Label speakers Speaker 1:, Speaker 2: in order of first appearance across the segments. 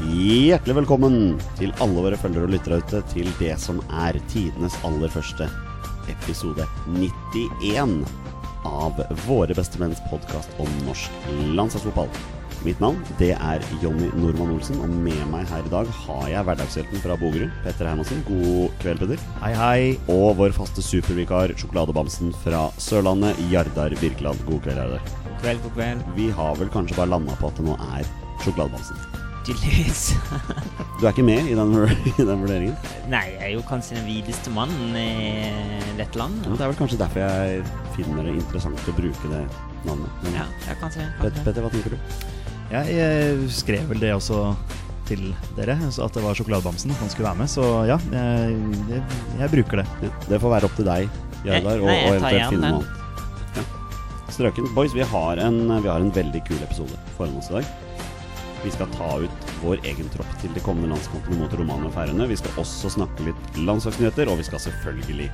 Speaker 1: Hjertelig velkommen til alle våre følgere og lyttere ute til det som er tidenes aller første episode 91 av Våre bestemenns podkast om norsk landslagsfotball. Mitt navn det er Jonny Normann Olsen, og med meg her i dag har jeg hverdagshelten fra Bogerud, Petter Hermansen. God kveld, Petter.
Speaker 2: Hei, hei.
Speaker 1: Og vår faste supervikar, sjokoladebamsen fra Sørlandet, Jardar Birkeland. God kveld, Jardar.
Speaker 2: God kveld, god kveld.
Speaker 1: Vi har vel kanskje bare landa på at det nå er sjokoladebamsen.
Speaker 2: Tydeligvis.
Speaker 1: Du er ikke med i den, i den vurderingen?
Speaker 2: Nei, jeg er jo kanskje den videste mannen i dette
Speaker 1: Ja,
Speaker 2: landet.
Speaker 1: det er vel kanskje derfor jeg finner det interessant å bruke det navnet. Men,
Speaker 2: Ja, jeg kan se.
Speaker 1: Pet- Petter, hva tenker du?
Speaker 3: Jeg eh, skrev vel det også til dere, altså at det var sjokoladebamsen at han skulle være med. Så ja, jeg, jeg, jeg bruker det.
Speaker 1: Ja, det får være opp til deg, Jardar, og, og
Speaker 2: Nei, jeg tar
Speaker 1: eventuelt
Speaker 2: igjen
Speaker 1: finne
Speaker 2: den.
Speaker 1: noe annet. Ja. Strøken. Boys, vi har, en, vi har en veldig kul episode foran oss i dag. Vi skal ta ut vår egen tropp til de kommende landskampene mot Romania og Færøyene. Vi skal også snakke litt landslagsnyheter, og vi skal selvfølgelig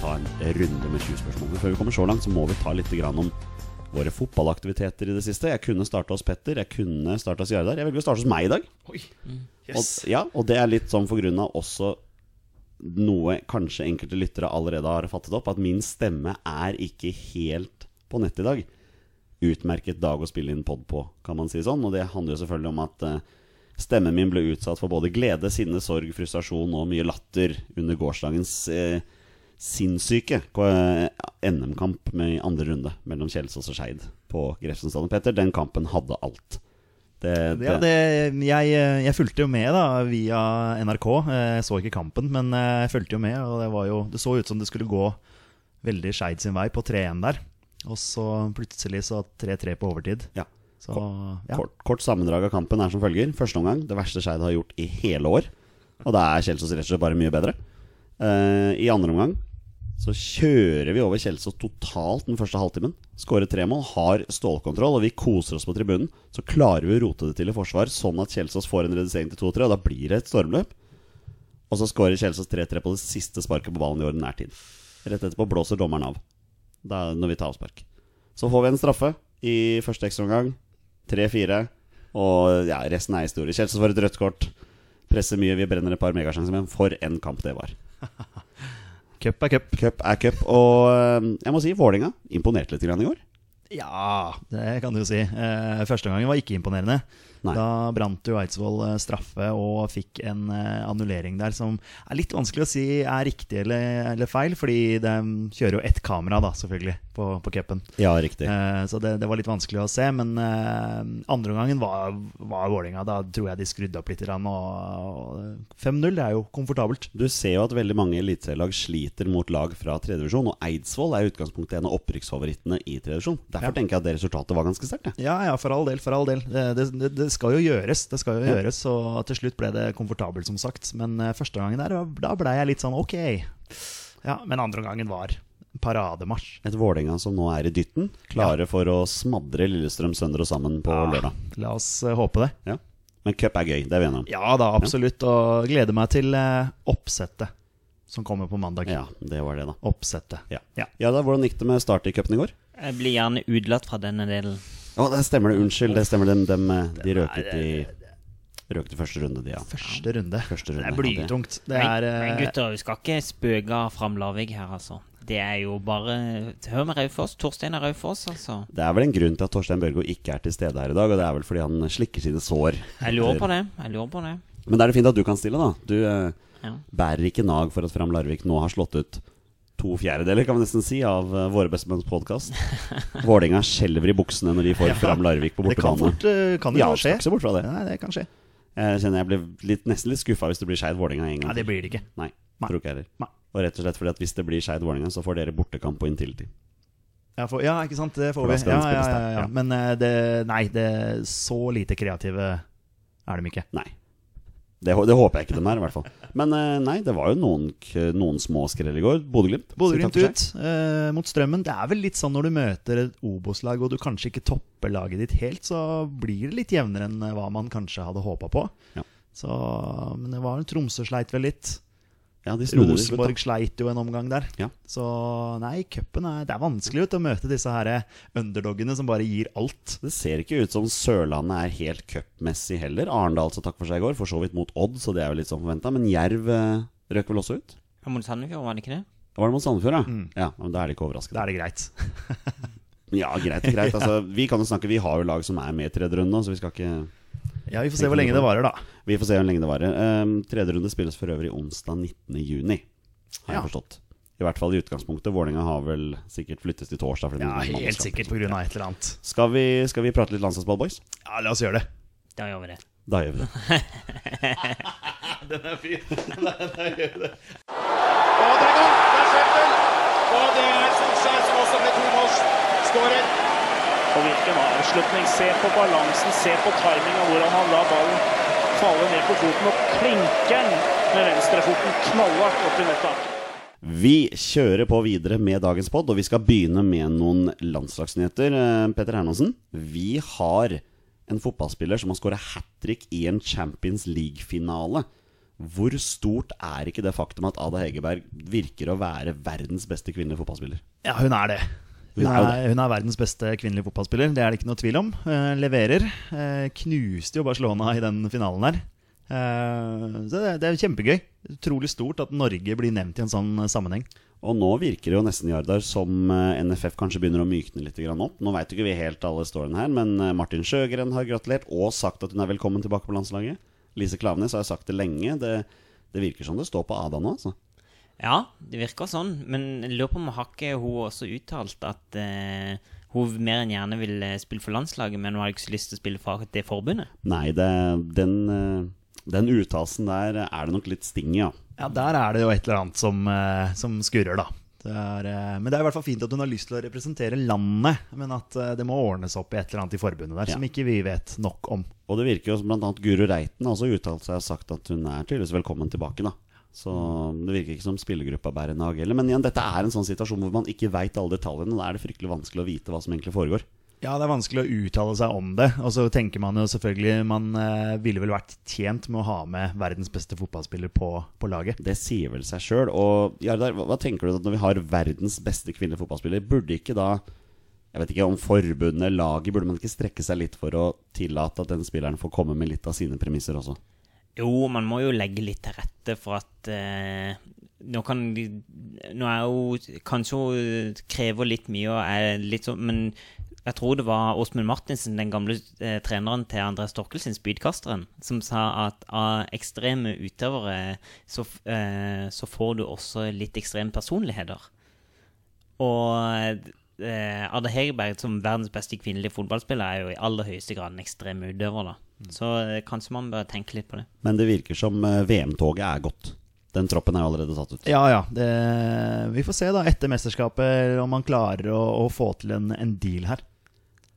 Speaker 1: ta en runde med 20 spørsmål. Men før vi kommer så langt, så må vi ta litt grann om våre fotballaktiviteter i det siste. Jeg kunne starta hos Petter, jeg kunne starta hos Jardar. Jeg velger å starte hos meg i dag.
Speaker 3: Oi,
Speaker 2: Mm.
Speaker 1: Og, ja, og det er litt sånn for grunn av også noe kanskje enkelte lyttere allerede har fattet opp, at min stemme er ikke helt på nett i dag. Utmerket dag å spille inn pod på, kan man si sånn. Og det handler jo selvfølgelig om at eh, stemmen min ble utsatt for både glede, sinne, sorg, frustrasjon og mye latter under gårsdagens eh, sinnssyke eh, NM-kamp med andre runde mellom Kjelsås og Skeid på Grefsenstaden. Petter, den kampen hadde alt. Det,
Speaker 3: Ja, det, jeg, eh, jeg fulgte jo med da via NRK. Eh, Jeg så ikke kampen, men eh, jeg fulgte jo med. Og det, var jo, det så ut som det skulle gå veldig Skeid sin vei på 3-1 der. Og så plutselig så 3-3 på overtid.
Speaker 1: ja.
Speaker 3: Så ja.
Speaker 1: Kort, kort sammendrag av kampen er som følger. Første omgang, det verste Skeid har gjort i hele år. Og da er Kjelsås rett og slett bare mye bedre. Eh, I andre omgang så kjører vi over Kjelsås totalt den første halvtimen. Skårer tre mål, har stålkontroll, og vi koser oss på tribunen. Så klarer vi å rote det til i forsvar, sånn at Kjelsås får en redusering til 2-3, og da blir det et stormløp. Og så skårer Kjelsås 3-3 på det siste sparket på ballen i ordinær tid. Rett etterpå blåser dommeren av. Da, når vi tar avspark. Så får vi en straffe i første ekstraomgang. 3-4. Og ja, resten er historie. Kjelsås får et rødt kort. Presser mye, vi brenner et par megasjanser, men for en kamp det var.
Speaker 3: Cup er cup.
Speaker 1: Cup er cup, og eh, jeg må si Vålinga imponerte litt grann i går.
Speaker 3: Ja, det kan du jo si. Eh, første gangen var ikke imponerende.
Speaker 1: Nei.
Speaker 3: Da brant jo Eidsvoll eh, straffe og fikk en eh, annullering der som er litt vanskelig å si er riktig eller, eller feil, fordi de kjører jo ett kamera, da, selvfølgelig, på, på cupen.
Speaker 1: Ja, riktig.
Speaker 3: Eh, så det, det var litt vanskelig å se, men eh, andre gangen var, var Vålerenga. Da tror jeg de skrudde opp litt. grann, og- eh, og 5-0 er jo komfortabelt.
Speaker 1: Du ser jo at veldig mange eliteserielag sliter mot lag fra tredjevisjon, og Eidsvoll er i utgangspunktet en av opprykksfavorittene i tredjevisjon. Derfor
Speaker 3: Ja.
Speaker 1: tenker jeg at det resultatet var ganske sterkt. jeg.
Speaker 3: Ja, ja, for all del. for all del Det, det, det skal jo gjøres. det skal jo
Speaker 1: Ja.
Speaker 3: gjøres Og til slutt ble det komfortabelt, som sagt. Men eh, første gangen der, da ble jeg litt sånn ok. Ja, Men andre gangen var parademarsj.
Speaker 1: Et Vålerenga som nå er i dytten, klare for å smadre Lillestrøm sønder og sammen på
Speaker 3: Ja,
Speaker 1: lørdag.
Speaker 3: La oss eh, håpe det.
Speaker 1: Ja. Men cup er gøy, det er vi enige om.
Speaker 3: Ja da, absolutt. Og gleder meg til eh, oppsettet som kommer på mandag.
Speaker 1: Ja, det var det, da.
Speaker 3: Oppsettet.
Speaker 1: Ja.
Speaker 3: Ja.
Speaker 1: ja da, Hvordan gikk det med start i cupen i går?
Speaker 2: Jeg Eh, blir gjerne utelatt fra denne delen.
Speaker 1: Å, det stemmer det. Unnskyld. Det stemmer dem, dem, eh, De røk ut i Røk ut i første runde, de, ja.
Speaker 3: Første runde.
Speaker 1: Første runde,
Speaker 3: det er
Speaker 1: ja, det-
Speaker 3: blytungt. Det er
Speaker 2: nei,
Speaker 3: eh,
Speaker 2: nei, gutter, vi skal ikke spøke av Fram Larvik her, altså. Det er jo bare Hør med Raufoss. Torstein er Raufoss, altså.
Speaker 1: Det er vel en grunn til at Torstein Børgo ikke er til stede her i dag, og det er vel fordi han slikker sine sår.
Speaker 2: Jeg lurer på det. Jeg lurer på det.
Speaker 1: Men da er det fint at du kan stille, da. Du eh,
Speaker 2: Ja.
Speaker 1: bærer ikke nag for at Fram Larvik nå har slått ut to fjerdedeler, kan vi nesten si, av eh, Våre bestemenns podkast. Vålerenga skjelver i buksene når de får Fram Larvik på
Speaker 3: det kan
Speaker 1: bortebane.
Speaker 3: fort eh, kan det
Speaker 1: Ja,
Speaker 3: jo skje.
Speaker 1: skal ikke se bort fra det.
Speaker 3: Nei, det kan skje.
Speaker 1: Jeg Eh, kjenner jeg blir litt, nesten litt skuffa hvis det blir Skeid Vålerenga en gang.
Speaker 3: Nei, det blir det ikke.
Speaker 1: Nei,
Speaker 3: Nei.
Speaker 1: tror ikke jeg
Speaker 3: Nei.
Speaker 1: heller. Og rett og slett fordi at hvis det blir Skeid Vålerenga, så får dere bortekamp på inntil-tid.
Speaker 3: Ja, for, ja, ikke sant. Det får
Speaker 1: For da
Speaker 3: vi. Ja,
Speaker 1: skal den
Speaker 3: ja,
Speaker 1: spilles
Speaker 3: ja,
Speaker 1: der,
Speaker 3: ja.
Speaker 1: ja.
Speaker 3: Men eh, det, nei, det så lite kreative er de ikke.
Speaker 1: Nei. Det, hå- det håper jeg ikke de er, i hvert fall. Men eh, nei, det var jo noen, k- noen små skrell i går. Bodø-Glimt. så
Speaker 3: Bodø-Glimt
Speaker 1: takk for seg.
Speaker 3: ut eh, mot Strømmen. Det er vel litt sånn når du møter et Obos-lag og du kanskje ikke topper laget ditt helt, så blir det litt jevnere enn eh, hva man kanskje hadde håpa på.
Speaker 1: Ja.
Speaker 3: Så, men det var Tromsø sleit vel litt.
Speaker 1: Ja, de snudde til slutt, da.
Speaker 3: Rosenborg sleit jo en omgang der.
Speaker 1: Ja.
Speaker 3: Så nei, cupen er Det er vanskelig vet, du, å møte disse her eh, underdogene som bare gir alt.
Speaker 1: Det ser ikke ut som Sørlandet er helt cupmessig heller. Arendal sa takk for seg i går, for så vidt mot Odd, så det er jo litt sånn forventa. Men Jerv eh, røk vel også ut?
Speaker 2: Ja, Mot Sandefjord, var det ikke det?
Speaker 1: Var det mot Sandefjord, ja?
Speaker 3: Mm.
Speaker 1: Ja, men Da er det ikke overraskende.
Speaker 3: Da er det greit.
Speaker 1: Ja, greit, greit. Altså, vi kan jo snakke, vi har jo lag som er med i tredje runde nå, så vi skal ikke
Speaker 3: Ja, Vi får se hvor lenge det varer, da.
Speaker 1: Vi får se hvor lenge det varer. Um, tredje runde spilles for øvrig onsdag 19. juni, har
Speaker 3: Ja.
Speaker 1: jeg forstått. I hvert fall i utgangspunktet. Vålerenga har vel sikkert flyttes til torsdag. fordi
Speaker 3: Ja,
Speaker 1: det er
Speaker 3: Helt
Speaker 1: mannskap.
Speaker 3: sikkert pga. et eller annet.
Speaker 1: Skal vi, skal vi prate litt landslagsball, boys?
Speaker 3: Ja, La oss gjøre det.
Speaker 2: Da gjør vi det.
Speaker 1: Da gjør vi det.
Speaker 4: Og det er godt, det er Schøffel. Og det er Solskjær som også ble to måls skårer. Og hvilken avslutning. Se på balansen, se på timinga, hvordan han lar ballen falle ned på foten og klinker den med venstrefoten knallhardt opp i netta.
Speaker 1: Vi kjører på videre med dagens pod, og vi skal begynne med noen landslagsnyheter. Eh, Petter Hernansen, vi har en fotballspiller som har skåra hat trick i en Champions League-finale. Hvor stort er ikke det faktum at Ada Hegerberg virker å være verdens beste kvinnelige fotballspiller?
Speaker 3: Ja, hun er det. Hun
Speaker 1: Hun er
Speaker 3: er,
Speaker 1: jo
Speaker 3: hun er verdens beste kvinnelige fotballspiller, det er det ikke noe tvil om. Eh, leverer. Eh, knuste jo Barcelona i den finalen her. Eh, så det, det er kjempegøy. Utrolig stort at Norge blir nevnt i en sånn eh, sammenheng.
Speaker 1: Og nå virker det jo nesten Jardar som eh, NFF kanskje begynner å mykne litt grann opp. Nå veit ikke vi helt alle storyene her, men eh, Martin Sjøgren har gratulert og sagt at hun er velkommen tilbake på landslaget. Lise Klaveness har sagt det lenge. Det, det virker som det står på Ada nå, altså.
Speaker 2: Ja, det virker sånn. Men jeg lurer på om har ikke hun også uttalt at eh, hun mer enn gjerne vil eh, spille for landslaget, men hun har ikke så lyst til å spille for det forbundet?
Speaker 1: Nei, det, den, eh, den uttalelsen der eh, er det nok litt sting i, ja.
Speaker 3: Ja, der er det jo et eller annet som, eh, som skurrer, da. Det er, eh, men det er i hvert fall fint at hun har lyst til å representere landet, men at eh, det må ordnes opp i et eller annet i forbundet der
Speaker 1: Ja.
Speaker 3: som ikke vi vet nok om.
Speaker 1: Og det virker jo som bl.a. Guro Reiten har også uttalt seg og sagt at hun er tydeligvis velkommen tilbake, da. Så det virker ikke som spillergruppa bærer nag heller. Men igjen, dette er en sånn situasjon hvor man ikke veit alle detaljene. og Da er det fryktelig vanskelig å vite hva som egentlig foregår.
Speaker 3: Ja, det er vanskelig å uttale seg om det. Og så tenker man jo selvfølgelig Man eh, ville vel vært tjent med å ha med verdens beste fotballspiller på, på laget.
Speaker 1: Det sier vel seg sjøl. Og Jardar, hva hva tenker du at når vi har verdens beste kvinnelige fotballspiller, burde ikke da Jeg vet ikke om forbundet, laget, burde man ikke strekke seg litt for å tillate at den spilleren får komme med litt av sine premisser også?
Speaker 2: Jo, man må jo legge litt til rette for at eh, Nå kan de Nå er jo Kanskje hun krever litt mye og er litt sånn Men jeg tror det var Åsmund Martinsen, den gamle eh, treneren til André Storkelsen, spydkasteren, som sa at av ekstreme utøvere så, f- eh, så får du også litt ekstreme personligheter. Og eh, Ada Hegerberg som verdens beste kvinnelige fotballspiller er jo i aller høyeste grad en ekstrem utøver, da. Så eh, kanskje man bør tenke litt på det.
Speaker 1: Men det virker som eh, VM-toget er gått. Den troppen er allerede tatt ut.
Speaker 3: Ja ja. Det, vi får se da etter mesterskapet om man klarer å, å få til en, en deal her.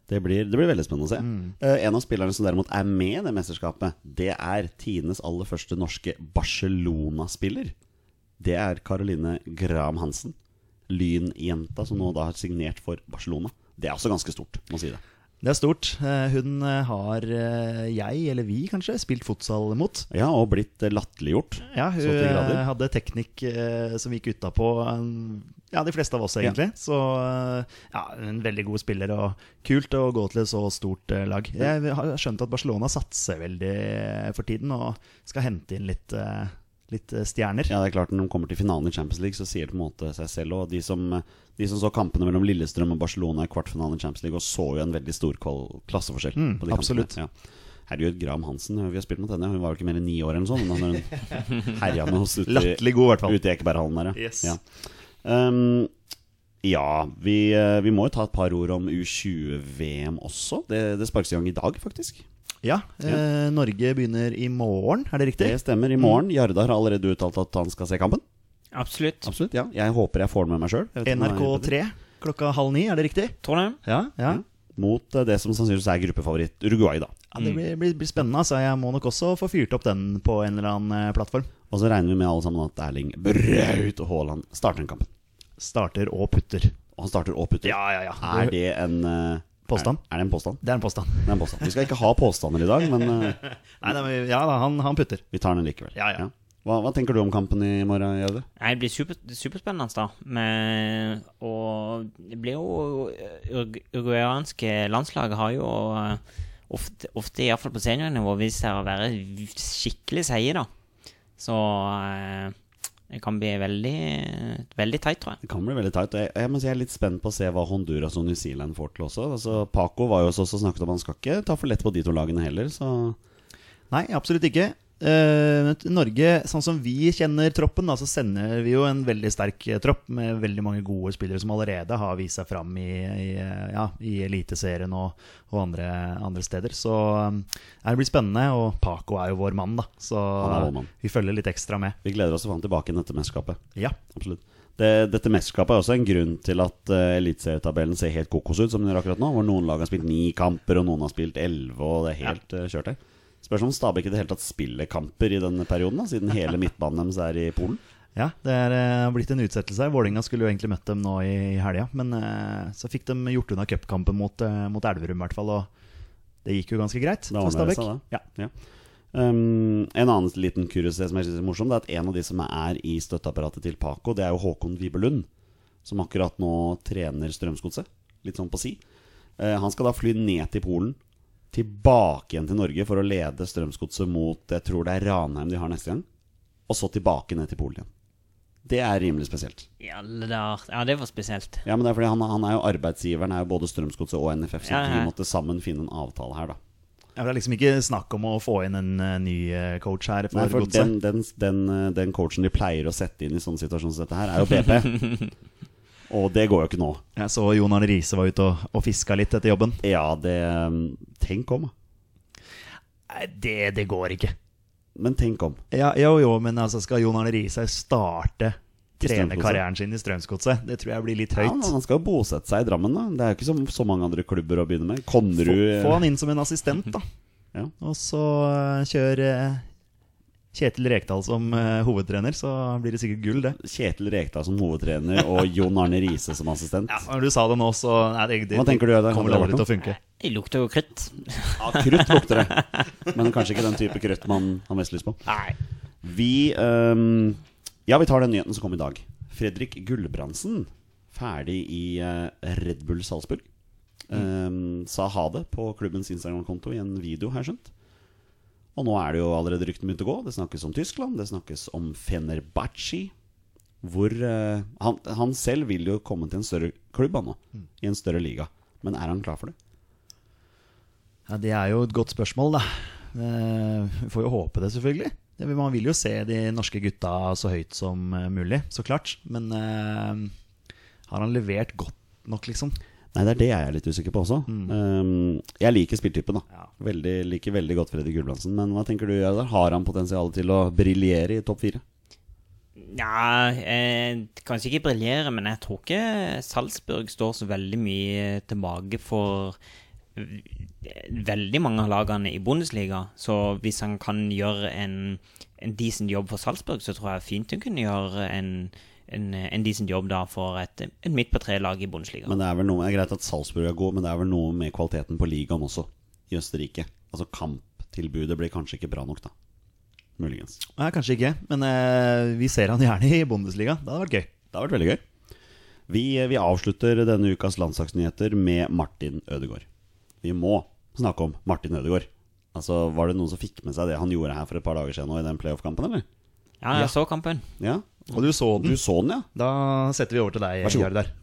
Speaker 1: Det blir, det blir veldig spennende å se. Eh, en av spillerne som derimot er med i det mesterskapet, det er Tines aller første norske Barcelona-spiller. Det er Caroline Graham Hansen. Lynjenta som nå da har signert for Barcelona. Det er også ganske stort, må si det.
Speaker 3: Det er stort. Eh, Hun eh, har eh, jeg, eller vi kanskje, spilt fotsal mot.
Speaker 1: Ja, og blitt eh, latterliggjort.
Speaker 3: Ja, hun
Speaker 1: Så til grader.
Speaker 3: eh, hadde teknikk eh, som gikk utapå eh, ja, de fleste av oss, egentlig. Så eh, ja, en veldig god spiller, og kult å gå til et så stort eh, lag. Jeg har skjønt at Barcelona satser veldig eh, for tiden, og skal hente inn litt, eh, litt eh, stjerner.
Speaker 1: Ja, det er klart Når de kommer til finalen i Champions League, så sier det på en måte seg selv. Og de som, de som så kampene mellom Lillestrøm og Barcelona i kvartfinalen i Champions League, og så jo en veldig stor kval- klasseforskjell.
Speaker 3: Mm,
Speaker 1: på de
Speaker 3: absolutt.
Speaker 1: kampene. Ja. Herregud, Graham Hansen, vi har spilt mot henne. Hun var jo ikke mer enn ni år eller noe sånt. Da når hun herja med oss ute, i-
Speaker 3: Latterlig god, i hvert fall.
Speaker 1: ute i Ekeberghallen der,
Speaker 3: Yes.
Speaker 1: ja. Um, ja, vi, eh, vi må jo ta et par ord om U20-VM også. Det, det sparkes i gang i dag, faktisk.
Speaker 3: Ja, eh, Norge begynner i morgen, er det Mm. riktig?
Speaker 1: Det stemmer. I morgen. Jardar har allerede uttalt at han skal se kampen.
Speaker 2: Absolutt.
Speaker 1: Absolutt, ja Jeg håper jeg får den med meg sjøl.
Speaker 3: NRK3 klokka halv ni, er det riktig?
Speaker 2: Tror du?
Speaker 3: Ja, ja.
Speaker 1: mot eh, det som sannsynligvis er gruppefavoritt Uruguay, da.
Speaker 3: ja det blir, blir, blir spennende, så jeg må nok også få fyrt opp den på en eller annen eh, plattform.
Speaker 1: Og så regner vi med alle sammen at Erling Braut Haaland starter den kampen.
Speaker 3: Starter og putter.
Speaker 1: Og han starter og putter.
Speaker 3: Ja, ja, ja.
Speaker 1: Er det en eh,
Speaker 3: Påstand?
Speaker 1: Er, er det en påstand?
Speaker 3: Det er en påstand.
Speaker 1: Det er en påstand. Vi skal ikke ha påstander i dag, men eh,
Speaker 3: Nei, nei, men ja da, han, han putter.
Speaker 1: vi tar den likevel.
Speaker 3: Ja, ja.
Speaker 1: Hva, hva tenker du om kampen i morgen, Gjerde?
Speaker 2: Nei, det blir super, superspennende, da. Med, og det blir jo urg- Uruguayanske landslaget har jo eh, ofte, ofte iallfall på seniornivå, vist seg å være skikkelig seige, da. Så eh, det kan bli veldig, veldig tight, tror jeg.
Speaker 1: Det kan bli veldig tight. og Jeg, jeg, må si jeg er litt spent på å se hva Honduras og New Zealand får til også. Altså, Paco var jo også og snakket om han skal ikke ta for lett på de to lagene heller, så
Speaker 3: Nei, absolutt ikke. Eh, men t- Norge, sånn som vi kjenner troppen, da, så sender vi jo en veldig sterk eh, tropp med veldig mange gode spillere som allerede har vist seg fram i, i, eh, ja, i Eliteserien og, og andre, andre steder. Så eh, det blir spennende, og Paco er jo vår mann, da. Så
Speaker 1: Han er vår mann.
Speaker 3: vi følger litt ekstra med.
Speaker 1: vi gleder oss til å få han tilbake i dette mesterskapet.
Speaker 3: Ja.
Speaker 1: Absolutt. Det, dette mesterskapet er også en grunn til at uh, eliteserietabellen ser helt kokos ut, som den gjør akkurat nå. Hvor noen lag har spilt ni kamper, og noen har spilt elleve, og det er helt eh, kjørt her. Spørs om Stabæk i det hele tatt spiller kamper i denne perioden, da, siden hele midtbanen deres er i Polen.
Speaker 3: Ja, det er eh, blitt en utsettelse. her. Vålinga skulle jo egentlig møtt dem nå i, i helga, men eh, så fikk de gjort unna cupkampen mot, eh, mot Elverum, i hvert fall. Og det gikk jo ganske greit
Speaker 1: Da
Speaker 3: for
Speaker 1: ordner det
Speaker 3: Stabæk.
Speaker 1: seg, da.
Speaker 3: Ja.
Speaker 1: Ja. Um, en annen liten kuriositet som jeg synes er morsom, det er at en av de som er i støtteapparatet til Paco, det er jo Håkon Vibelund, som akkurat nå trener Strømsgodset. Litt sånn på si. Eh, han skal da fly ned til Polen, tilbake igjen til Norge for å lede Strømsgodset mot jeg tror det er Ranheim de har neste gang, og så tilbake ned til Polen igjen. Det er rimelig spesielt.
Speaker 2: I alle dager. Ja, det var spesielt.
Speaker 1: Ja, men det er fordi han, han er jo arbeidsgiveren, er jo både Strømsgodset og NFF, så
Speaker 2: Ja, ja, ja.
Speaker 1: de måtte sammen finne en avtale her, da.
Speaker 3: Ja, for Det er liksom ikke snakk om å få inn en eh, ny eh, coach her. For
Speaker 1: Nei, for
Speaker 3: godset.
Speaker 1: den, den, den, eh, den coachen de pleier å sette inn i sånne situasjoner som dette her, er jo BP. og det går jo ikke nå.
Speaker 3: Jeg så Jon Arne Riise var ute og, og fiska litt etter jobben.
Speaker 1: Ja, det eh, Tenk om, da.
Speaker 3: Nei, det, det går ikke.
Speaker 1: Men tenk om.
Speaker 3: Ja, jo, jo, men altså, skal Jon Arne Riise starte
Speaker 1: I Strømsgodset?
Speaker 3: trenerkarrieren sin i Strømsgodset? Det tror jeg blir litt
Speaker 1: Ja,
Speaker 3: høyt.
Speaker 1: men han skal jo bosette seg i Drammen, da. Det er jo ikke som så mange andre klubber å begynne med. Konnerud
Speaker 3: få,
Speaker 1: eh,
Speaker 3: få han inn som en assistent, da.
Speaker 1: Ja.
Speaker 3: Og så eh, kjør eh, Kjetil Rekdal som eh, hovedtrener, så blir det sikkert gull, det.
Speaker 1: Kjetil Rekdal som hovedtrener og Jon Arne Riise som assistent.
Speaker 3: Ja, når du sa det nå, så nei, det, det,
Speaker 1: Hva tenker du, Øystein?
Speaker 3: kommer
Speaker 1: Hadde det
Speaker 3: vel aldri
Speaker 1: vært
Speaker 3: til å funke.
Speaker 2: Det lukter jo krutt.
Speaker 1: Ja, krutt lukter det. Men kanskje ikke den type krutt man har mest lyst på.
Speaker 2: Nei.
Speaker 1: Vi ehm, Ja, vi tar den nyheten som kom i dag. Fredrik Gulbrandsen, ferdig i eh, Red Bull Salzburg, ehm, sa ha det på klubbens Instagram-konto i en video, har jeg skjønt. Og nå er det jo allerede ryktene begynt å gå. Det snakkes om Tyskland, det snakkes om Fenerbahçe. Hvor eh, han, han selv vil jo komme til en større klubb, han nå. I en større liga. Men er han klar for det?
Speaker 3: Ja, det er jo et godt spørsmål, da. Eh, Vi får jo håpe det, selvfølgelig. Det vil- Man vil jo se de norske gutta så høyt som eh, mulig, så klart. Men eh, har han levert godt nok, liksom?
Speaker 1: Nei, det er det jeg er litt usikker på også. Ehm, jeg liker spilltypen, da.
Speaker 3: Ja.
Speaker 1: Veldig, liker veldig godt Fredrik Gulbrandsen. Men hva tenker du, Jardar? Har han potensial til å briljere i topp fire?
Speaker 2: Nja, eh, kanskje ikke briljere, men jeg tror ikke Salzburg står så veldig mye tilbake for eh, veldig mange av lagene i Bundesliga. Så hvis han kan gjøre en, en decent jobb for Salzburg, så tror jeg fint hun kunne gjøre en, en, en decent jobb da for et, en midt på tre-lag i Bundesliga.
Speaker 1: Men det er vel noe, det er greit at Salzburg er god, men det er vel noe med kvaliteten på ligaen også, i Østerrike. Altså kamptilbudet blir kanskje ikke bra nok, da. Muligens.
Speaker 3: Nei, kanskje ikke. Men eh, vi ser han gjerne i Bundesliga. Det hadde vært gøy.
Speaker 1: Det har vært veldig gøy. Vi, vi avslutter denne ukas landslagsnyheter med Martin Ødegaard. Vi må snakke om Martin Ødegaard. Altså, Var det noen som fikk med seg det han gjorde her for et par dager siden nå i den playoff-kampen, eller?
Speaker 2: Ja, jeg så kampen.
Speaker 1: Ja?
Speaker 3: Og du så
Speaker 1: Du så den, ja?
Speaker 3: Da setter vi over til deg,
Speaker 1: Vær så god.
Speaker 3: Gjerdar.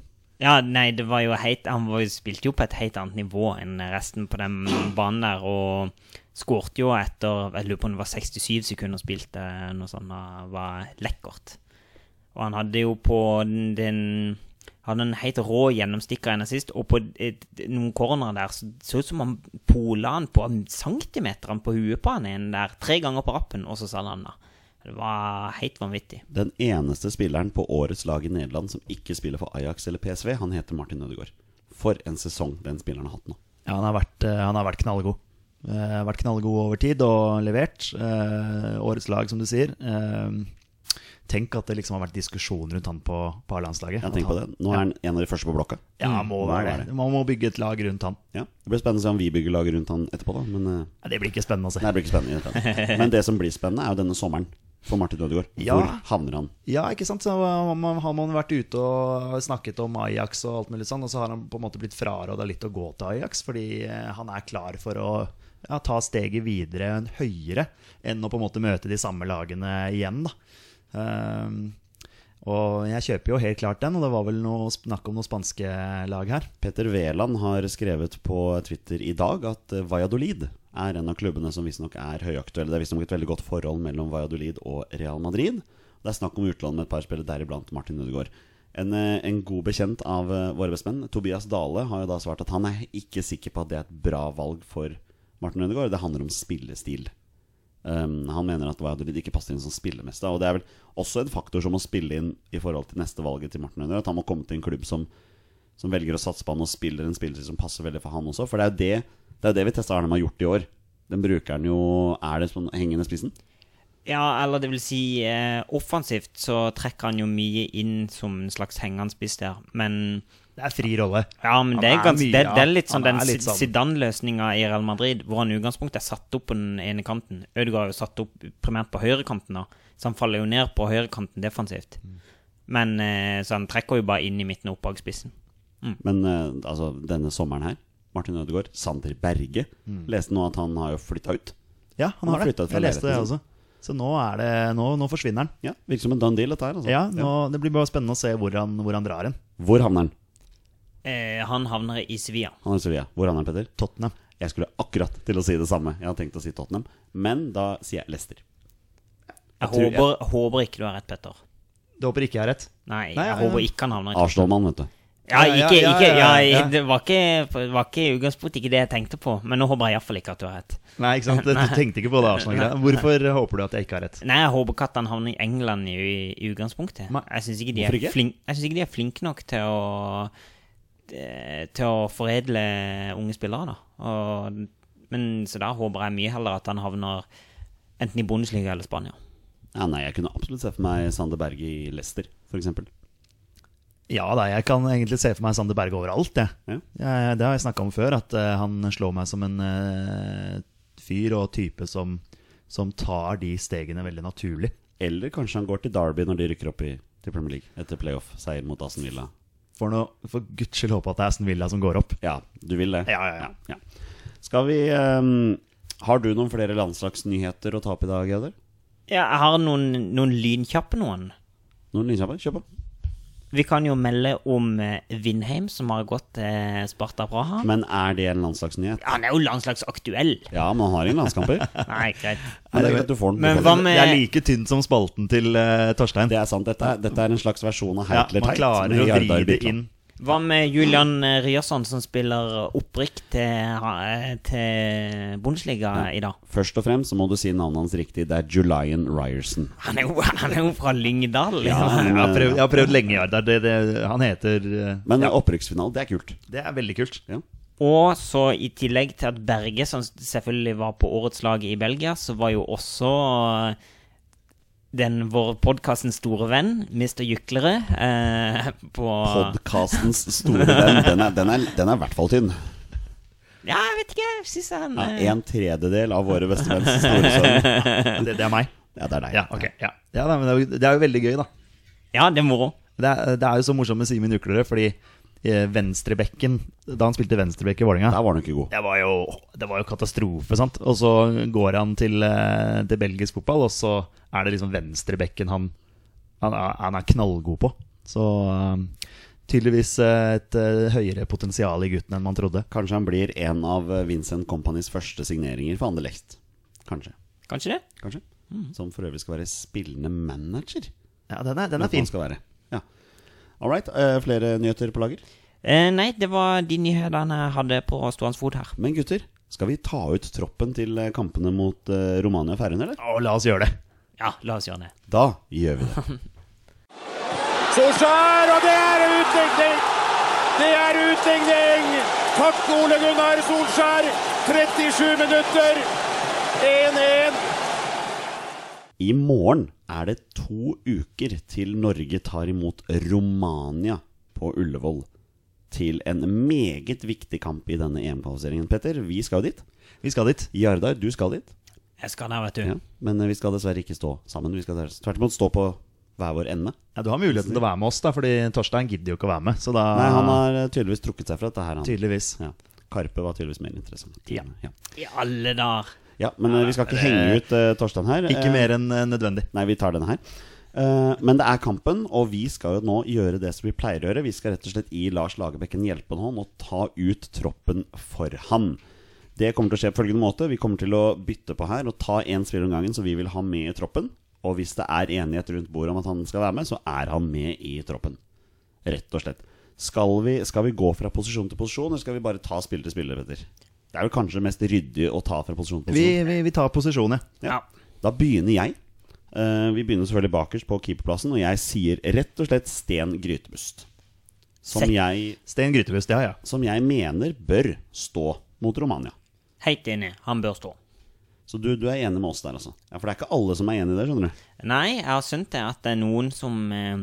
Speaker 2: Ja, nei, det var jo heit, han var jo, spilte jo på et helt annet nivå enn resten på den banen der, og skårte jo etter, jeg lurer på om det var 67 sekunder spilt, eh, noe sånt, det var lekkert. Og han hadde jo på den, den hadde en helt rå gjennomstikker ennå sist, og på et, noen cornerer der, så så ut som han pola han på centimeteren på huet på han en der, tre ganger på rappen, og så sa han da. Det var helt vanvittig.
Speaker 1: Den eneste spilleren på årets lag i Nederland som ikke spiller for Ajax eller PSV, han heter Martin Ødegaard. For en sesong den spilleren har hatt nå.
Speaker 3: Ja, han har vært, eh, han har vært knallgod. Eh, vært knallgod over tid og levert. Eh, årets lag, som du sier. Eh, tenk at det liksom har vært diskusjon rundt han på, på landslaget.
Speaker 1: Jeg tenker på det. Nå er han en av de første på blokka.
Speaker 3: Ja, han må
Speaker 1: Må
Speaker 3: være
Speaker 1: være
Speaker 3: det. Man må bygge et lag rundt han.
Speaker 1: Ja, Det blir spennende å se om vi bygger lag rundt han etterpå, da. Men eh,
Speaker 3: Ja, det blir ikke spennende å se.
Speaker 1: nei, det blir ikke spennende. i det hele tatt. Men det som blir spennende, er jo denne sommeren. for Martin Ødegaard?
Speaker 3: Ja.
Speaker 1: Hvor havner han?
Speaker 3: Ja, ikke sant? Så har man har man vært ute og snakket om Ajax og alt mulig sånn, og så har han på en måte blitt fraråda litt å gå til Ajax, fordi eh, han er klar for å ja, ta steget videre en høyere enn å på en måte møte de samme lagene igjen, da. Ehm, og jeg kjøper jo helt klart den, og det var vel noe snakk om noen spanske lag her.
Speaker 1: Petter Wæland har skrevet på Twitter i dag at eh, Valladolid er en av klubbene som visstnok er høyaktuelle. Det er visstnok et veldig godt forhold mellom Valladolid og Real Madrid. Det er snakk om utland med et par spillere, deriblant Martin Ødegaard. En, eh, en god bekjent av eh, våre bestemenn, Tobias Dale, har jo da svart at han er ikke sikker på at det er et bra valg for Martin Ødegaard. Det handler om spillestil. Um, han mener at Valladolid ikke passer inn som spillemester. Og det er vel også en faktor som må spille inn i forhold til neste valget til Martin Ødegaard. At han må komme til en klubb som som velger å satse på han og spiller en spiller som passer veldig for han også. For det er jo det, det, er jo det vi testa Arnhem har gjort i år. Den bruker han jo Er det sånn hengende spissen?
Speaker 2: Ja, eller det vil si eh, offensivt så trekker han jo mye inn som en slags hengende spiss der. Men
Speaker 3: Det er fri rolle.
Speaker 2: ja, men
Speaker 3: Han
Speaker 2: det er,
Speaker 3: er
Speaker 2: gans,
Speaker 3: mye,
Speaker 2: det,
Speaker 3: ja.
Speaker 2: det er litt sånn
Speaker 3: Han
Speaker 2: den
Speaker 3: er litt
Speaker 2: Zid-
Speaker 3: sånn.
Speaker 2: Zidane-løsninga i Real Madrid, hvor han i utgangspunktet er satt opp på den ene kanten. Ødegaard er jo satt opp primært på høyrekanten, da, så han faller jo ned på høyrekanten defensivt.
Speaker 3: Mm.
Speaker 2: Men eh, Så han trekker jo bare inn i midten og opp bak spissen.
Speaker 1: Men eh, altså, denne sommeren her, Martin Ødegaard, Sander Berge
Speaker 3: Mm.
Speaker 1: Leste nå at han har jo flytta ut.
Speaker 3: Ja, han,
Speaker 1: Han
Speaker 3: har det.
Speaker 1: flyttet fra
Speaker 3: Jeg leste det
Speaker 1: leiligheten
Speaker 3: også. Så nå, er det, nå, nå forsvinner han.
Speaker 1: Ja, Virker som en done deal, dette her. Altså.
Speaker 3: Ja, nå, Det blir bare spennende å se hvor han, hvor han drar hen.
Speaker 1: Hvor havner han?
Speaker 2: Eh, han havner i Sevilla.
Speaker 1: Han er i Sevilla. Hvor havner han, Petter?
Speaker 3: Tottenham.
Speaker 1: Jeg skulle akkurat til å si det samme. Jeg hadde tenkt å si Tottenham, men da sier jeg Leicester.
Speaker 2: Jeg
Speaker 1: tror-
Speaker 2: håper, håper ikke du har rett, Petter.
Speaker 3: Du håper ikke jeg har rett?
Speaker 2: Nei,
Speaker 3: Nei,
Speaker 2: jeg
Speaker 3: ja,
Speaker 2: håper
Speaker 3: ja.
Speaker 2: ikke han havner i
Speaker 1: Arsenal-mann, vet du.
Speaker 2: Ja,
Speaker 3: Ja, ja,
Speaker 2: ikke,
Speaker 3: ja,
Speaker 2: ikke,
Speaker 3: ja,
Speaker 2: ja,
Speaker 3: ja.
Speaker 2: Det var ikke, var ikke i utgangspunktet ikke det jeg tenkte på, men nå håper jeg iallfall ikke at du har rett.
Speaker 3: Nei, ikke sant? Du tenkte ikke på det Arsenal-greia. Hvorfor håper du at jeg ikke har rett?
Speaker 2: Nei, jeg håper ikke at han havner i England i, i utgangspunktet.
Speaker 3: Nei.
Speaker 2: Jeg syns ikke, de
Speaker 1: Hvorfor
Speaker 2: er
Speaker 1: ikke?
Speaker 2: flink- jeg synes ikke de er flinke nok til å eh, Til å foredle unge spillere, da. Og, men, så da håper jeg mye heller at han havner enten i Bundesliga eller Spania.
Speaker 1: Ja, nei, jeg kunne absolutt se for meg Sander Berge i Leicester, f.eks.
Speaker 3: Ja da, jeg kan egentlig se for meg Sander Berge overalt, jeg.
Speaker 1: Ja.
Speaker 3: Jeg- Det har jeg snakka om før, at eh, han slår meg som en eh, fyr og type som, som tar de stegene veldig naturlig.
Speaker 1: Eller kanskje han går til Derby når de rykker opp i, til Premier League etter playoff-seier mot Aston Villa.
Speaker 3: For, noe, for guds skyld håpe at det er Aston Villa som går opp.
Speaker 1: Ja, du vil det?
Speaker 3: Ja, ja, ja.
Speaker 1: Skal vi ehm, Har du noen flere landslagsnyheter å ta opp i dag, Eder?
Speaker 2: Ja, jeg har noen, noen lynkjappe noen.
Speaker 1: Noen lynkjappe? Kjør på.
Speaker 2: Vi kan jo melde om eh, Vindheim, som har gått til Sparta Praha.
Speaker 1: Men er det en landslagsnyhet?
Speaker 2: Han er jo landslagsaktuell.
Speaker 1: Ja, man har ingen landskamper.
Speaker 2: Nei, greit.
Speaker 1: Men det er greit, du får den.
Speaker 2: Men
Speaker 1: Du får
Speaker 2: hva
Speaker 1: den.
Speaker 2: med
Speaker 3: Det er like tynt som spalten til eh, Torstein.
Speaker 1: Det er sant. Dette er, dette er en slags versjon av
Speaker 3: ja,
Speaker 1: Heitler
Speaker 3: man klarer å vri det inn.
Speaker 2: Hva med Julian eh, Ryerson, som spiller opprykk til, ha- til Bundesliga i dag?
Speaker 1: Først og fremst så må du si navnet hans riktig. Det er Julian Ryerson.
Speaker 2: Han er jo, han er jo fra Lyngdal.
Speaker 3: Ja,
Speaker 2: Liksom.
Speaker 3: jeg, har prøvd, jeg har prøvd lenge, Jardar. Det, det, han heter eh,
Speaker 1: Men
Speaker 3: ja,
Speaker 1: opprykksfinale, det er kult.
Speaker 3: Det er veldig kult.
Speaker 1: Ja.
Speaker 2: Og så i tillegg til at Berge, som selvfølgelig var på årets lag i Belgia, så var jo også eh, den vår podkastens store venn, Mr. Jyklerød, eh, på
Speaker 3: Ah.
Speaker 1: Podkastens store venn. Den er, den, er, den er i hvert fall tynn.
Speaker 2: Ja, jeg vet ikke, jeg syns han
Speaker 1: Ja,
Speaker 2: eh,
Speaker 1: en tredjedel av våre bestemenns store sønn.
Speaker 3: Det, det er meg.
Speaker 1: Ja, det er deg.
Speaker 3: Ja, ok. Ja, ja da, men det, er jo, det er jo veldig gøy, da.
Speaker 2: Ja, det er moro.
Speaker 3: Det er, det er jo så morsomt med Simen Juklerød, fordi eh, venstrebekken Da han spilte venstrebekk i Vålerenga
Speaker 1: Der var den ikke god.
Speaker 3: det var, jo, det var jo katastrofe, sant. Og så går han til, eh, til belgisk fotball, og så er det liksom venstrebekken han, han, er- han er knallgod på. Så eh, tydeligvis eh, et eh, høyere potensial i gutten enn man trodde.
Speaker 1: Kanskje han blir en av Vincent Companys første signeringer for Anderlecht. Kanskje.
Speaker 2: Kanskje det?
Speaker 1: Kanskje. Som for øvrig skal være spillende manager.
Speaker 3: Ja, den er, den er
Speaker 1: Vet hva han
Speaker 3: fin.
Speaker 1: Skal være. Ja. All right. eh, flere nyheter på lager.
Speaker 2: Eh, nei, det var de nyhetene jeg hadde på stående fot her.
Speaker 1: Men gutter, skal vi ta ut troppen til eh, kampene mot eh, Romania og Færøyene, eller?
Speaker 3: Å, la oss gjøre det.
Speaker 2: Ja, la oss gjøre det.
Speaker 1: Da gjør vi det.
Speaker 4: Solskjær, og det er utligning! Det er utligning! Takk, Ole Gunnar Solskjær. 37 minutter. 1-1.
Speaker 1: I morgen er det to uker til Norge tar imot Romania på Ullevål. Til en meget viktig kamp i denne EM-kvalifiseringen, Petter. Vi skal jo dit.
Speaker 3: Vi skal dit.
Speaker 1: Jardar, du skal dit.
Speaker 2: Jeg skal der, vet du.
Speaker 1: Ja. Men eh, vi skal dessverre ikke stå sammen. Vi skal dessverre- tvert imot stå på hver vår ende.
Speaker 3: Ja, du har muligheten til å være med oss, da, fordi Torstein gidder jo ikke å være med. Så da
Speaker 1: Nei, han har eh, tydeligvis trukket seg fra dette her. Han.
Speaker 3: Tydeligvis.
Speaker 1: Ja. Karpe var tydeligvis mer interessant.
Speaker 3: Ja.
Speaker 1: Ja.
Speaker 2: I alle dager.
Speaker 1: Ja, men eh, vi skal ikke henge ut eh, Torstein her.
Speaker 3: Ikke
Speaker 1: Eh,
Speaker 3: mer enn eh, nødvendig.
Speaker 1: Nei, vi tar denne her. Eh, men det er kampen, og vi skal jo nå gjøre det som vi pleier å gjøre. Vi skal rett og slett gi Lars Lagerbäck en hjelpende hånd og ta ut troppen for han. Det kommer til å skje på følgende måte. Vi kommer til å bytte på her og ta én spiller om gangen som vi vil ha med i troppen. Og hvis det er enighet rundt bordet om at han skal være med, så er han med i troppen. Rett og slett. Skal vi, skal vi gå fra posisjon til posisjon, eller skal vi bare ta spiller til spiller, Petter? Det er vel kanskje det mest ryddige å ta fra posisjon til posisjon.
Speaker 3: Vi, vi, vi tar posisjon, ja.
Speaker 1: Ja. Da begynner jeg. Eh, vi begynner selvfølgelig bakerst på keeperplassen, og jeg sier rett og slett Sten Grytebust. Som
Speaker 2: Sett.
Speaker 1: jeg,
Speaker 3: Stein Grytebust, ja, ja.
Speaker 1: som jeg mener bør stå mot Romania.
Speaker 2: Helt enig. Han bør stå.
Speaker 1: Så du, du er enig med oss der, altså? Ja, For det er ikke alle som er enig i det, skjønner du.
Speaker 2: Nei, jeg har skjønt det at det er noen som eh,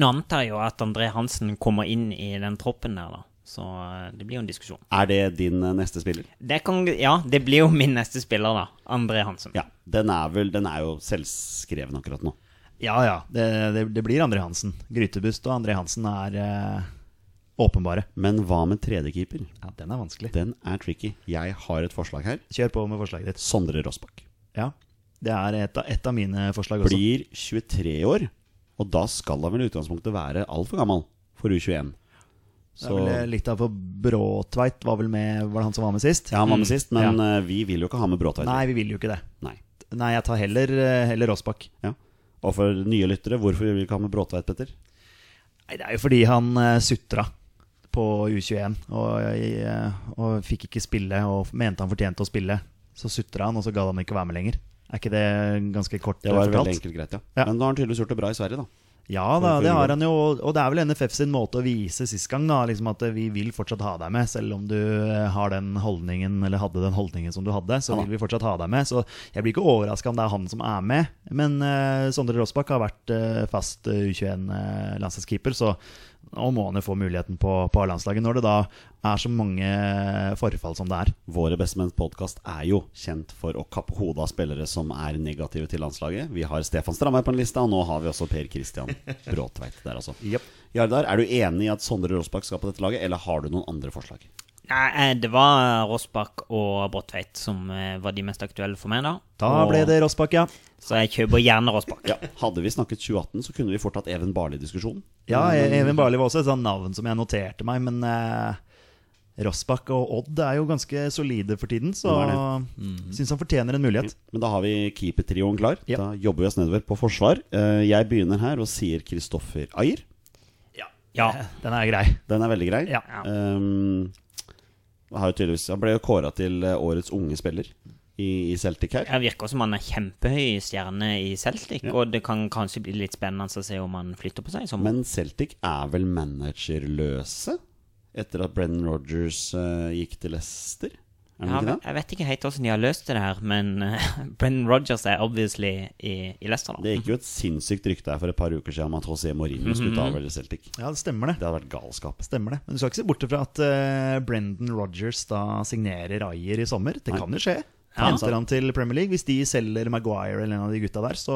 Speaker 2: Nå antar jeg jo at André Hansen kommer inn i den troppen der, da. Så eh, det blir jo en diskusjon.
Speaker 1: Er det din eh, neste spiller?
Speaker 2: Det kan, ja, det blir jo min neste spiller, da. André Hansen.
Speaker 1: Ja. Den er vel Den er jo selvskreven akkurat nå.
Speaker 3: Ja ja, det, det, det blir André Hansen. Grytebust og André Hansen er eh, åpenbare.
Speaker 1: Men hva med tredjekeeper?
Speaker 3: Ja, Den er vanskelig.
Speaker 1: Den er tricky. Jeg har et forslag her.
Speaker 3: Kjør på med forslaget ditt.
Speaker 1: Sondre Rossbakk.
Speaker 3: Ja, Det er et av, et av mine forslag også.
Speaker 1: Blir 23 år, og da skal han vel i utgangspunktet være altfor gammel for U21.
Speaker 3: Det er vel eh, litt av for Bråtveit var vel med Var det han som var med sist?
Speaker 1: Ja, han var med sist, men eh, vi vil jo ikke ha med Bråtveit.
Speaker 3: Mm, Nei, vi vil jo ikke det.
Speaker 1: Nei.
Speaker 3: Nei, jeg tar heller, eh, heller Rossbakk.
Speaker 1: Ja. Og for nye lyttere, hvorfor vil vi ikke ha med Bråtveit, Petter?
Speaker 3: Nei, det er jo fordi han eh, sutra på U21 og, eh, og fikk ikke spille og mente han fortjente å spille. Så sutra han, og så gadd han ikke være med lenger. Er ikke det ganske kort
Speaker 1: Det var
Speaker 3: eh,
Speaker 1: veldig enkelt greit, ja.
Speaker 3: Ja.
Speaker 1: Men nå har han tydeligvis gjort det bra i Sverige, da.
Speaker 3: Ja da, det har han jo. Og det er vel NFF sin måte å vise sist gang, da. Liksom at eh, vi vil fortsatt ha deg med, selv om du eh, har den holdningen, eller hadde den holdningen som du hadde. Så vil vi fortsatt ha deg med. Så jeg blir ikke overraska om det er han som er med. Men eh, Sondre Rossbakk har vært eh, fast U21-landslagskeeper, så nå må han jo få muligheten på, på A-landslaget, når det da er så mange eh, forfall som det er.
Speaker 1: Våre Bestemenns podkast er jo kjent for å kappe hodet av spillere som er negative til landslaget. Vi har Stefan Strandberg på en lista, og nå har vi også Per Christian Bråtveit der, altså. Jardar, er du enig i at Sondre Rossbakk skal på dette laget, eller har du noen andre forslag?
Speaker 2: Nei, eh, det var Rossbakk og Bråtveit som eh, var de mest aktuelle for meg, da.
Speaker 3: Da
Speaker 2: Og-
Speaker 3: ble det Rossbakk, ja.
Speaker 2: Så jeg kjøper gjerne Rossbakk.
Speaker 1: Ja, Hadde vi snakket 2018, så kunne vi fort hatt Even Barli-diskusjon.
Speaker 3: Ja, Even Barli var også et sånt navn som jeg noterte meg, men eh, Rossbakk og Odd er jo ganske solide for tiden, så Mm.
Speaker 1: Det Mm.
Speaker 3: syns han fortjener en mulighet.
Speaker 1: Men da har vi keepertrioen klar.
Speaker 3: Ja.
Speaker 1: Da jobber vi oss nedover på forsvar. Eh, Jeg begynner her og sier Kristoffer Ayer.
Speaker 2: Ja.
Speaker 3: Den er grei.
Speaker 1: Den er veldig grei.
Speaker 3: Ja.
Speaker 1: Ehm, har jo tydeligvis, han ble jo kåra til eh, årets unge spiller i, i Celtic her.
Speaker 2: Det virker som han er kjempehøy stjerne i Celtic,
Speaker 1: Ja.
Speaker 2: og det kan kanskje bli litt spennende å se om han flytter på seg i sommer.
Speaker 1: Men Celtic er vel managerløse etter at Brennan Rogers eh, gikk til Leicester? Er han
Speaker 2: Ja,
Speaker 1: ikke det?
Speaker 2: jeg vet ikke helt hvordan de har løst det her, men Brennan Rogers er obviously i, i Leicester nå.
Speaker 1: Det gikk jo et sinnssykt rykte her for et par uker siden om at José Mourinho skulle ta over Celtic. Det
Speaker 3: Ja, det stemmer det.
Speaker 1: hadde vært galskap.
Speaker 3: Stemmer det. Men du skal ikke se bort fra at eh, Brendan Rogers da signerer Ayer i sommer. Det kan jo skje.
Speaker 2: Ja.
Speaker 3: Henter han til Premier League. Hvis de selger Maguire eller en av de gutta der, så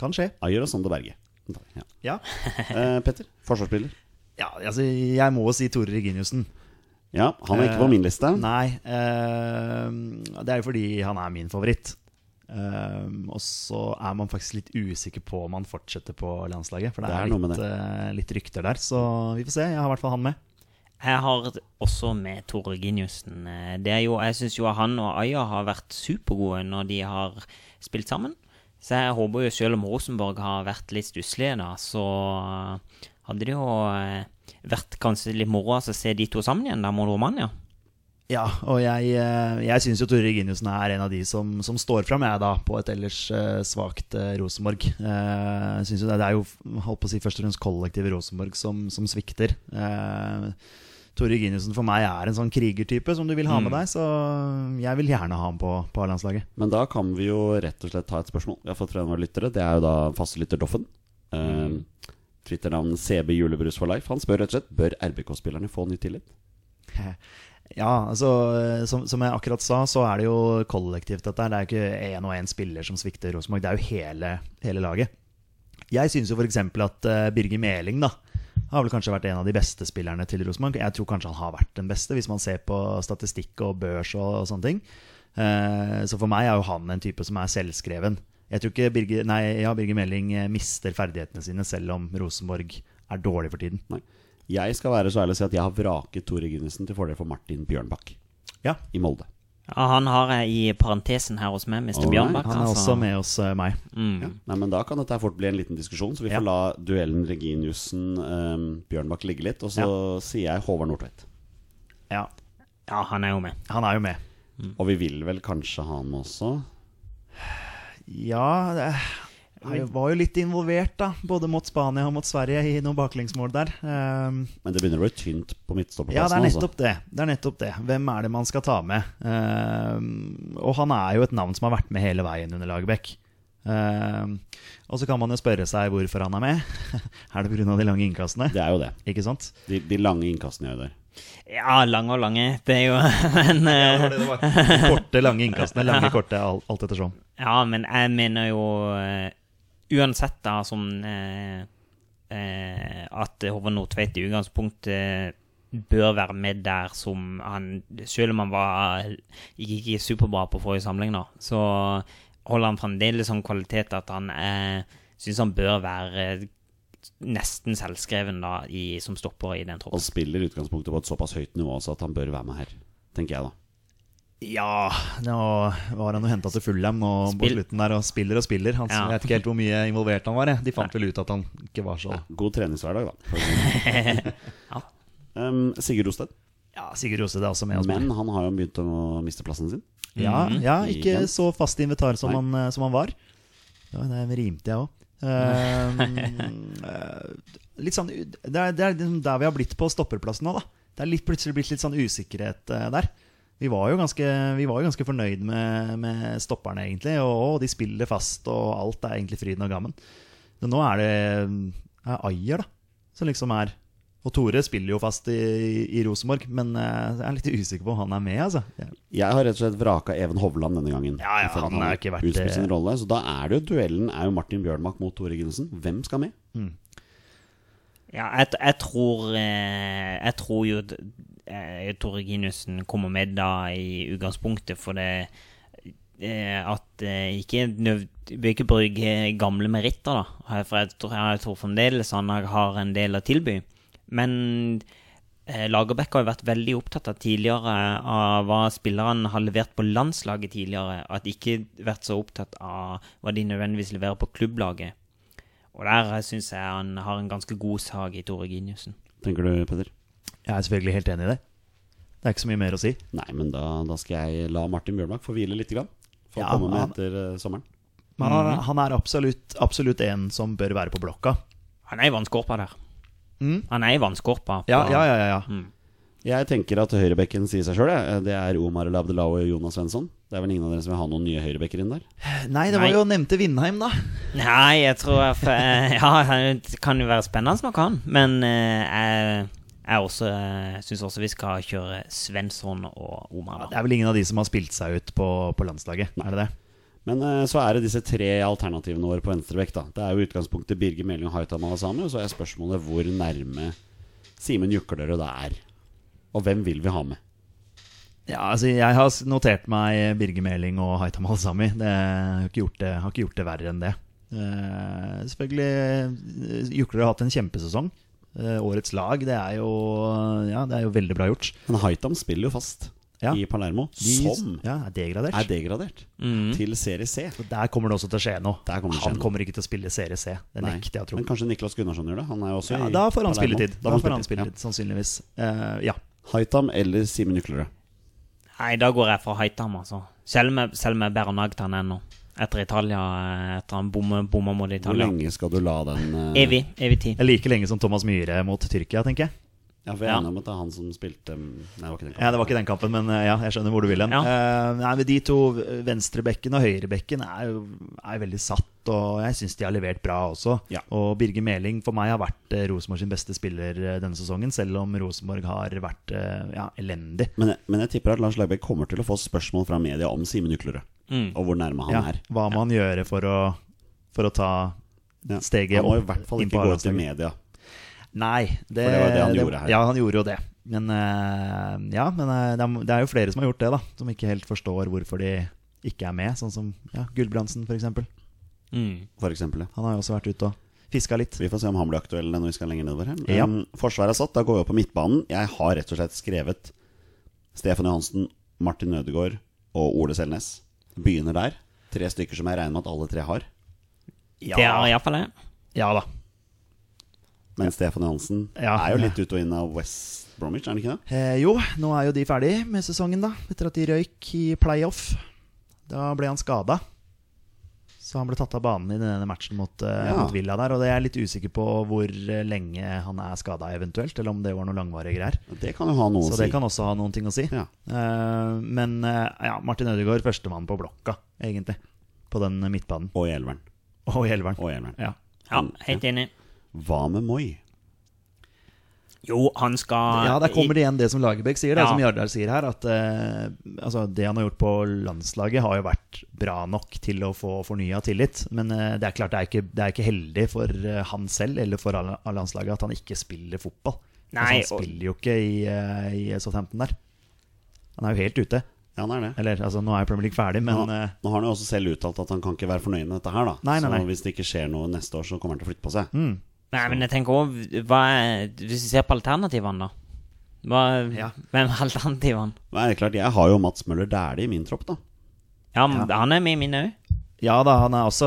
Speaker 3: kan skje.
Speaker 1: Ayer og Sander Berge. Ja.
Speaker 3: Ja,
Speaker 1: Eh, Petter, forsvarsspiller.
Speaker 3: ja altså, jeg må si Tore Reginiussen.
Speaker 1: Ja, han er ikke på min liste.
Speaker 3: Eh, Nei. eh, det er jo fordi han er min favoritt. Eh, og så er man faktisk litt usikker på om han fortsetter på landslaget. For det,
Speaker 1: Det er
Speaker 3: er,
Speaker 1: noe med
Speaker 3: litt, eh, litt rykter der, så vi får se. Jeg har i hvert fall han med.
Speaker 2: Jeg har også med Tore Giniussen. Eh, Det er jo, jeg syns jo han og Aya har vært supergode når de har spilt sammen. Så jeg håper jo selv om Rosenborg har vært litt stusslige, da, så hadde det jo eh, vært kanskje litt moro altså, å se de to sammen igjen da mot Romania.
Speaker 3: Ja, og jeg, eh, jeg syns jo Tore Reginiussen er en av de som, som står fram, jeg, da, på et ellers eh, svakt eh, Rosenborg. Eh, synes jo det, det er jo holdt på å si, først og fremst kollektivet Rosenborg som, som svikter. Eh, Tore Reginiussen for meg er en sånn krigertype som du vil ha med deg, så jeg vil gjerne ha ham på, på A-landslaget.
Speaker 1: Men da kan vi jo rett og slett ta et spørsmål. Vi har fått fra en av våre lyttere. Det er jo da fastlytter Doffen. Uh, Twitternavnet CB Julebrus for life. Han spør rett og slett Bør RBK-spillerne få ny tillit.
Speaker 3: Ja, altså, eh, som, som jeg akkurat sa, så er det jo kollektivt dette her. Det er jo ikke én og én spiller som svikter Rosenborg, det er jo hele, hele laget. Jeg syns jo f.eks. at eh, Birger Meling da, har vel kanskje vært en av de beste spillerne til Rosenborg. Jeg tror kanskje han har vært den beste, hvis man ser på statistikk og børs og, og sånne ting. Eh, Så for meg er jo han en type som er selvskreven. Jeg tror ikke Birger, nei, ja, Birger Meling eh, mister ferdighetene sine selv om Rosenborg er dårlig for tiden.
Speaker 1: Nei. Jeg skal være så ærlig å si at jeg har vraket Tore Ginesen til fordel for Martin Bjørnbakk
Speaker 3: Ja,
Speaker 1: i Molde.
Speaker 2: Ja, han har jeg i parentesen her hos meg, Mr.
Speaker 1: Alright,
Speaker 2: Bjørnbakk.
Speaker 3: han er
Speaker 2: altså. Mm.
Speaker 3: også med hos eh, meg.
Speaker 1: Ja. Nei, men Da kan dette her fort bli en liten diskusjon, så vi
Speaker 3: Ja.
Speaker 1: får la duellen Reginiussen ehm, Bjørnbakk ligge litt. Og så sier jeg Håvard Nordtveit.
Speaker 3: Ja,
Speaker 2: Ja, han er jo med.
Speaker 3: han er jo med.
Speaker 1: Og vi vil vel kanskje ha han også?
Speaker 3: Ja, det jeg var jo litt involvert, da. Både mot Spania og mot Sverige i noen baklengsmål der. Ehm,
Speaker 1: Men det begynner å bli tynt på
Speaker 3: Ja, det er
Speaker 1: midtstopperplassen. altså.
Speaker 3: nettopp det. Det er nettopp det. Hvem er det man skal ta med? Ehm, og han er jo et navn som har vært med hele veien under Lagerbäck. Ehm, og så kan man jo spørre seg hvorfor han er med. er det pga. de lange innkastene?
Speaker 1: altså. Det er jo det.
Speaker 3: Ikke sant?
Speaker 1: De, de lange innkastene gjør det.
Speaker 2: Ja, lange og lange. Det er jo Men eh,
Speaker 3: De korte, lange innkastene. Lange, korte, alt, alt ettersom.
Speaker 2: Ja, men jeg mener jo eh, Uansett da som eh, eh, At Håvard Nordtveit i utgangspunktet bør være med der som han Selv om han var gikk ikke superbra på forrige samling, da, så holder han fremdeles sånn kvalitet at han eh, syns han bør være nesten selvskreven da i, som stopper i den
Speaker 1: Og
Speaker 2: troppen.
Speaker 1: spiller i utgangspunktet på et såpass høyt nivå også at han bør være med her. Tenker jeg, da.
Speaker 3: Ja, nå var han jo henta til Fulham nå på
Speaker 2: Spill-
Speaker 3: slutten der og spiller og spiller. Han,
Speaker 2: Ja.
Speaker 3: Jeg vet ikke helt hvor mye involvert han var. jeg. De fant vel ut at han ikke var så
Speaker 1: God treningshverdag, da. for å si det sånn.
Speaker 2: Ja.
Speaker 1: Ehm, Sigurd Rosted.
Speaker 3: Ja, Sigurd Rose, det er også med oss.
Speaker 1: Men han har jo begynt å miste plassen sin.
Speaker 3: Ja, ja ikke
Speaker 1: Igjen.
Speaker 3: så fast invitar som,
Speaker 1: Nei.
Speaker 3: han, eh, som han var. Ja, det rimte jeg òg. litt sånn u- det er, det er liksom der vi har blitt på stopperplassen nå, da. Det er litt, plutselig blitt litt sånn usikkerhet eh, der. Vi var jo ganske, vi var jo ganske fornøyd med, med stopperne, egentlig. Og, og de spiller fast, og alt er egentlig fryden og gammen. Men nå er det eh, er Ayer, da, som liksom er Og Tore spiller jo fast i, i Rosenborg, men eh, jeg er litt usikker på om han er med, altså. Jeg
Speaker 1: Jeg har rett og slett vraka Even Hovland denne gangen.
Speaker 3: Ja, ja,
Speaker 1: For at
Speaker 3: han er ikke verdt
Speaker 1: utspilt
Speaker 3: det.
Speaker 1: sin rolle Så da er det jo duellen er jo Martin Bjørnbakk mot Tore Ginesen. Hvem skal med?
Speaker 2: Ja, jeg, jeg tror eh, Jeg tror jo at, eh, Tore Ginussen kommer med da i utgangspunktet, for det eh, At eh, ikke nøv, Bør ikke bruke gamle meritter, da. For jeg tror, jeg tror fremdeles han har- har en del å tilby. Men eh, Lagerbäck har jo vært veldig opptatt av tidligere av hva spillerne har levert på landslaget tidligere. At ikke vært så opptatt av hva de nødvendigvis leverer på klubblaget. Og der syns jeg han har en ganske god sag i Tore Giniussen.
Speaker 1: Tenker du, Petter?
Speaker 3: er selvfølgelig helt enig i det. Det er ikke så mye mer å si.
Speaker 1: Nei, men da, da skal jeg la Martin Bjørnbakk få hvile litt. Grann, for
Speaker 3: Ja,
Speaker 1: å komme med
Speaker 3: han-
Speaker 1: etter eh, sommeren.
Speaker 3: Men han, er- han er absolutt, absolutt en som bør være på blokka.
Speaker 2: Han er i vannskorpa der.
Speaker 3: Mm.
Speaker 2: Han er i vannskorpa. på- Mm.
Speaker 3: Ja, ja, ja. ja, ja.
Speaker 1: Jeg tenker at høyrebekken sier seg sjøl. Det er Omar El Abdelawi og Jonas Svensson. Det er vel ingen av dere som vil ha noen nye høyrebekker inn der?
Speaker 3: Nei, det var
Speaker 2: Nei.
Speaker 3: jo nevnte Vindheim, da.
Speaker 2: Nei, jeg tror jeg f- eh, Ja, det kan jo være spennende nok, han. Men eh, jeg, jeg også, eh, syns også vi skal kjøre Svensson og Omar.
Speaker 3: Ja,
Speaker 2: da.
Speaker 3: det er vel ingen av de som har spilt seg ut på, på landslaget, er det det?
Speaker 1: Men eh, så er det disse tre alternativene våre på venstrebekk. da Det er jo i utgangspunktet Birger Meling og Haitam Malasami. Og så er spørsmålet hvor nærme Simen Juklerød det er. Og hvem vil vi ha med?
Speaker 3: Ja, altså Jeg har s- notert meg Birger Meling og Haitam Al-Sami. Det jeg har ikke gjort det, har ikke gjort det verre enn det. Eh, selvfølgelig eh, Jukler har hatt en kjempesesong. Eh, årets lag, det er jo Ja, det er jo veldig bra gjort.
Speaker 1: Men Haitam spiller jo fast
Speaker 3: Ja.
Speaker 1: i Palermo,
Speaker 3: De-
Speaker 1: som
Speaker 3: ja, er degradert.
Speaker 1: er degradert til Serie C.
Speaker 3: Så Der kommer det også til å skje noe.
Speaker 1: Der kommer det til å skje
Speaker 3: han
Speaker 1: noe.
Speaker 3: kommer ikke til å spille Serie C. Det
Speaker 1: Nei.
Speaker 3: nekter jeg å tro.
Speaker 1: Men kanskje Niklas Gunnarsson gjør det? Han er jo også
Speaker 3: Ja,
Speaker 1: i
Speaker 3: da får han
Speaker 1: Palermo.
Speaker 3: spilletid. Da får han spilletid,
Speaker 1: spilletid,
Speaker 3: sannsynligvis. Eh, ja.
Speaker 1: Ja. Haitam eller Simen Juklerød?
Speaker 2: Nei, da går jeg for Haitam, altså. Selv om jeg- selv om jeg bærer nagt han ennå. Etter Italia, eh, etter han bommer bommer mot
Speaker 1: Hvor
Speaker 3: Mm.
Speaker 2: Italia.
Speaker 1: lenge skal du la den eh,
Speaker 2: Evig. Evig tid.
Speaker 3: Like lenge som Thomas Myhre mot Tyrkia, tenker jeg.
Speaker 1: Ja, for jeg
Speaker 2: Ja.
Speaker 1: er enig om at det er han som spilte mm, Nei, det var ikke den kampen.
Speaker 3: Ja, Det var ikke den kampen, men eh, ja, jeg skjønner hvor du vil hen.
Speaker 2: Ja.
Speaker 3: Eh, nei, men De to venstrebekken og høyrebekken er jo er veldig satt, og jeg syns de har levert bra også.
Speaker 1: Ja.
Speaker 3: Og Birger Meling for meg har vært eh, Rosenborg sin beste spiller eh, denne sesongen, selv om Rosenborg har vært eh, ja, elendig.
Speaker 1: Men, jeg- men jeg tipper at Lars Lagerbäck kommer til å få spørsmål fra media om Simen Uklerød. Og hvor nærme han
Speaker 3: Mm. Ja,
Speaker 1: er.
Speaker 3: hva må han gjøre for å, for å ta
Speaker 1: Ja.
Speaker 3: Steget
Speaker 1: han må i
Speaker 3: opp
Speaker 1: hvert fall
Speaker 3: inn på
Speaker 1: ikke gå til
Speaker 3: A-landslaget.
Speaker 1: media.
Speaker 3: Nei, det,
Speaker 1: For det var det han gjorde her.
Speaker 3: Ja, han gjorde jo det. Men eh, ja, men eh, det er- det er jo flere som har gjort det, da. Som ikke helt forstår hvorfor de ikke er med. Sånn som ja, Gulbrandsen, f.eks.
Speaker 2: Mm.
Speaker 1: For eksempel, ja.
Speaker 3: Han har jo også vært ute og fiska litt.
Speaker 1: Vi får se om han blir aktuell når vi skal lenger nedover her.
Speaker 3: Ja.
Speaker 1: Um, forsvaret er satt, da går vi opp på midtbanen. Jeg har rett og slett skrevet Stefan Johansen, Martin Ødegaard og Ole Selnes. Begynner der. Tre stykker som jeg regner med at alle tre har.
Speaker 2: Det er iallfall det.
Speaker 3: ja da.
Speaker 1: Men Stefan Johansen
Speaker 3: Ja.
Speaker 1: er jo litt ut og inn av West Bromwich, er han ikke det?
Speaker 3: Eh, jo, nå er jo de ferdig med sesongen, da. Etter at de røyk i playoff. Da ble han skada. Så han ble tatt av banen i denne matchen mot, eh,
Speaker 1: Ja.
Speaker 3: mot Villa der. Og det er jeg litt usikker på hvor eh, lenge han er skada eventuelt, eller om det var noe langvarige greier.
Speaker 1: Det kan jo ha noe
Speaker 3: Så
Speaker 1: å si.
Speaker 3: det kan også ha noen ting å si.
Speaker 1: Ja.
Speaker 3: Eh, men eh, ja, Martin Ødegaard førstemann på blokka, egentlig. På den midtbanen.
Speaker 1: Og i elveren.
Speaker 3: Og i elveren.
Speaker 1: Og i elveren.
Speaker 3: Mm. Ja.
Speaker 2: Ja, helt enig.
Speaker 1: Hva med Moi?
Speaker 2: Jo, han skal
Speaker 3: Ja, der kommer det igjen det som Lagerbäck sier, da,
Speaker 2: Ja.
Speaker 3: som Jardar sier her. At eh, altså, det han har gjort på landslaget, har jo vært bra nok til å få fornya tillit. Men eh, det er klart det er ikke, det er ikke heldig for eh, han selv eller for alle- alle landslaget at han ikke spiller fotball.
Speaker 2: Nei,
Speaker 3: altså,
Speaker 2: og-
Speaker 3: han spiller jo ikke i, eh, i Southampton der. Han er jo helt ute.
Speaker 1: Ja, han er det.
Speaker 3: Eller altså, nå er jo Premier League ferdig, men
Speaker 1: nå,
Speaker 3: eh,
Speaker 1: nå har han jo også selv uttalt at han kan ikke være fornøyd med dette her, da.
Speaker 3: Nei, nei, Mm. nei.
Speaker 1: Så hvis det ikke skjer noe neste år, så kommer han til å flytte på seg.
Speaker 2: Nei, men jeg tenker også, hva er, Hvis vi ser på alternativene, da. Hva,
Speaker 3: Ja.
Speaker 2: Hvem er alternativene?
Speaker 1: Men det er klart, jeg har jo Mats Møller Dæhlie i min tropp, da.
Speaker 2: Ja, men han er med i mine òg.
Speaker 3: Ja da, han er også,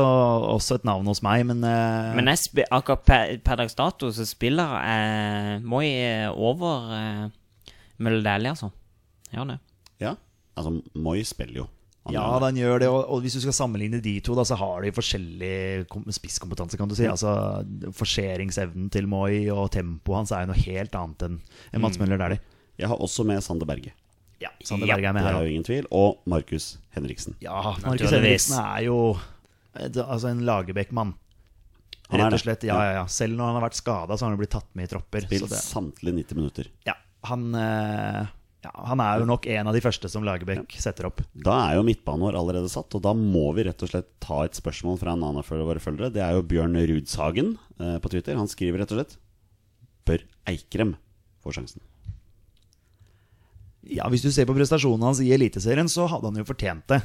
Speaker 3: også et navn hos meg, men, eh,
Speaker 2: Men jeg spi, akkurat per, per dags dato så spiller eh, Moi eh, over eh, Møller Dæhlie, altså. Gjør han det?
Speaker 1: Ja. Altså, Moi spiller jo. Han
Speaker 3: Ja,
Speaker 1: gjør det.
Speaker 3: den gjør det. Og, og hvis du skal sammenligne de to, da, så har de forskjellig kom- spisskompetanse, kan du si. Altså Forseringsevnen til Moi og tempoet hans er jo noe helt annet enn enn Mats
Speaker 1: Mm.
Speaker 3: Møller Dæhlie.
Speaker 1: Jeg har også med Sander Berge.
Speaker 3: Ja, Sander Berge er
Speaker 1: Det
Speaker 3: med her
Speaker 1: er
Speaker 3: òg.
Speaker 1: jo ingen tvil. Og Markus Henriksen.
Speaker 3: Ja, Markus
Speaker 2: Naturligvis.
Speaker 3: Henriksen er jo eh, det- altså en Lagerbäck-mann.
Speaker 1: Han er
Speaker 3: Rett og
Speaker 1: det.
Speaker 3: slett. Ja, ja, ja. Selv når han har vært skada, så har han jo blitt tatt med i tropper. Så
Speaker 1: Spilt
Speaker 3: det,
Speaker 1: samtlige 90 minutter.
Speaker 3: ja, han, eh, ja, han er jo nok en av de første som Lagerbäck setter opp.
Speaker 1: Da er jo midtbanen vår allerede satt, og da må vi rett og slett ta et spørsmål fra en annen av våre følgere. Det er jo Bjørn Rudshagen eh, på Twitter. Han skriver rett og slett Bør Eikrem få sjansen?
Speaker 3: Ja, Hvis du ser på prestasjonene hans i Eliteserien, så hadde han jo fortjent det.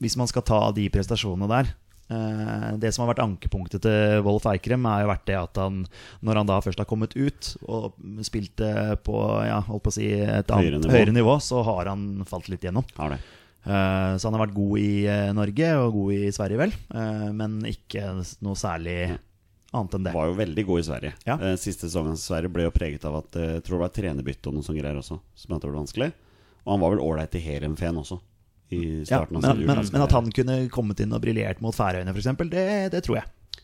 Speaker 3: Hvis man skal ta de prestasjonene der. Eh, Det som har vært ankepunktet til Wolf Eikrem, er jo vært det at han, når han da først har kommet ut og spilte på ja, holdt på å si et
Speaker 1: Høyere
Speaker 3: annet,
Speaker 1: nivå.
Speaker 3: høyere nivå, så har han falt litt gjennom.
Speaker 1: Har det.
Speaker 3: Eh, Så han har vært god i eh, Norge og god i Sverige, vel. Eh, Men ikke noe særlig annet enn det.
Speaker 1: Var jo veldig god i Sverige.
Speaker 3: Ja.
Speaker 1: Eh, Siste sesongen i Sverige ble jo preget av at eh, jeg tror det var trenerbytte og noe sånt greier også, som gjorde det ble vanskelig. Og han var vel ålreit i Heerenveen også, i
Speaker 3: Ja,
Speaker 1: starten
Speaker 3: men,
Speaker 1: av sin
Speaker 3: men,
Speaker 1: utenlandske
Speaker 3: men at
Speaker 1: karriere.
Speaker 3: han kunne kommet inn og briljert mot Færøyene, f.eks., det, det tror jeg.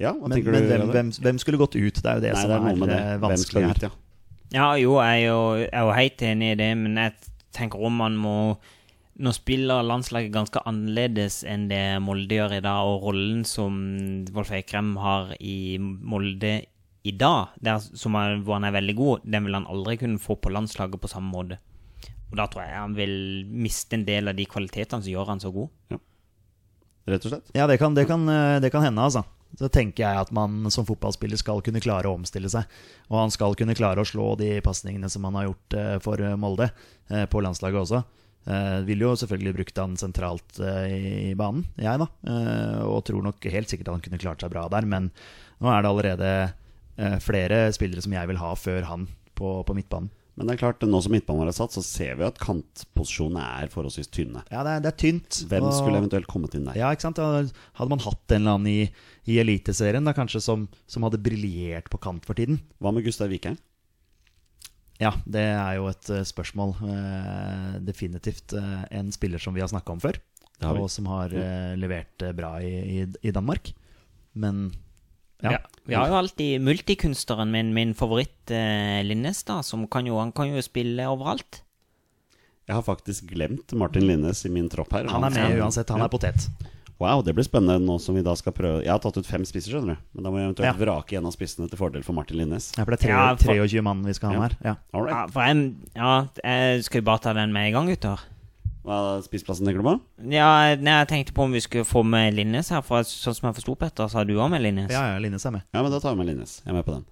Speaker 1: Ja, hva
Speaker 3: Men,
Speaker 1: tenker
Speaker 3: men
Speaker 1: du?
Speaker 3: hvem,
Speaker 1: Røde?
Speaker 3: hvem, hvem skulle gått ut? Det er jo det
Speaker 1: Nei,
Speaker 3: som
Speaker 1: det er
Speaker 3: er,
Speaker 1: noe med det.
Speaker 3: eh,
Speaker 1: Hvem
Speaker 3: vanskelig
Speaker 1: skal
Speaker 3: her.
Speaker 1: ut, ja.
Speaker 2: Ja, jo, jeg er jo, jeg er jo helt enig i det, men jeg tenker om man må Nå spiller landslaget ganske annerledes enn det Molde gjør i dag, og rollen som Wolf Eikrem har i Molde i dag, der, som er, hvor han er veldig god, den vil han aldri kunne få på landslaget på samme måte. Og da tror jeg han vil miste en del av de kvalitetene som gjør han så god.
Speaker 1: Rett og slett.
Speaker 3: Ja, det kan, det, kan, eh, det kan hende, altså. Så tenker jeg at man som fotballspiller skal kunne klare å omstille seg. Og han skal kunne klare å slå de pasningene som han har gjort eh, for eh, Molde, eh, på landslaget også. Eh, Ville jo selvfølgelig brukt han sentralt eh, i i banen, jeg da. Eh, Og tror nok helt sikkert han kunne klart seg bra der, men nå er det allerede eh, flere spillere som jeg vil ha før han på, på midtbanen.
Speaker 1: Men det er klart, nå som midtbanen vår er satt, så ser vi at kantposisjonene er forholdsvis tynne.
Speaker 3: Ja, det er, det er tynt.
Speaker 1: Hvem
Speaker 3: og-
Speaker 1: skulle eventuelt kommet inn der?
Speaker 3: Ja, ikke sant? Da Hadde man hatt en eller annen i, i Eliteserien da, kanskje som, som hadde briljert på kant for tiden?
Speaker 1: Hva med Gustav Vikheim?
Speaker 3: Ja, det er jo et eh, spørsmål. eh, definitivt eh, en spiller som vi har snakka om før,
Speaker 1: Det har vi.
Speaker 3: og som har eh, levert eh, bra i, i, i Danmark. Men Ja.
Speaker 2: Ja. Vi har jo alltid multikunstneren min, min favoritt eh, Linnes, da, som kan jo, han kan jo spille overalt.
Speaker 1: Jeg har faktisk glemt Martin Linnes i min tropp her.
Speaker 3: Han er med uansett. Han
Speaker 1: Ja.
Speaker 3: er potet.
Speaker 1: Wow, det blir spennende nå som vi da skal prøve Jeg har tatt ut fem spisser, skjønner du. Men da må jeg eventuelt
Speaker 3: Ja.
Speaker 1: vrake en av spissene til fordel for Martin Linnes.
Speaker 3: Ja, for det er tre,
Speaker 2: Ja, for-
Speaker 3: 23 mann vi skal ha med her. Ja.
Speaker 1: All right.
Speaker 2: Ja, for jeg, ja, jeg skal jo bare ta den med en gang, gutter.
Speaker 1: Hva er spissplassen tenker du på?
Speaker 2: Ja, nei, jeg tenkte på om vi skulle få med Linnes her, for sånn som jeg forsto, Petter, så har du òg med Linnes.
Speaker 3: Ja, ja, Linnes er med.
Speaker 1: Ja, men da tar vi med Linnes. Jeg er med på den.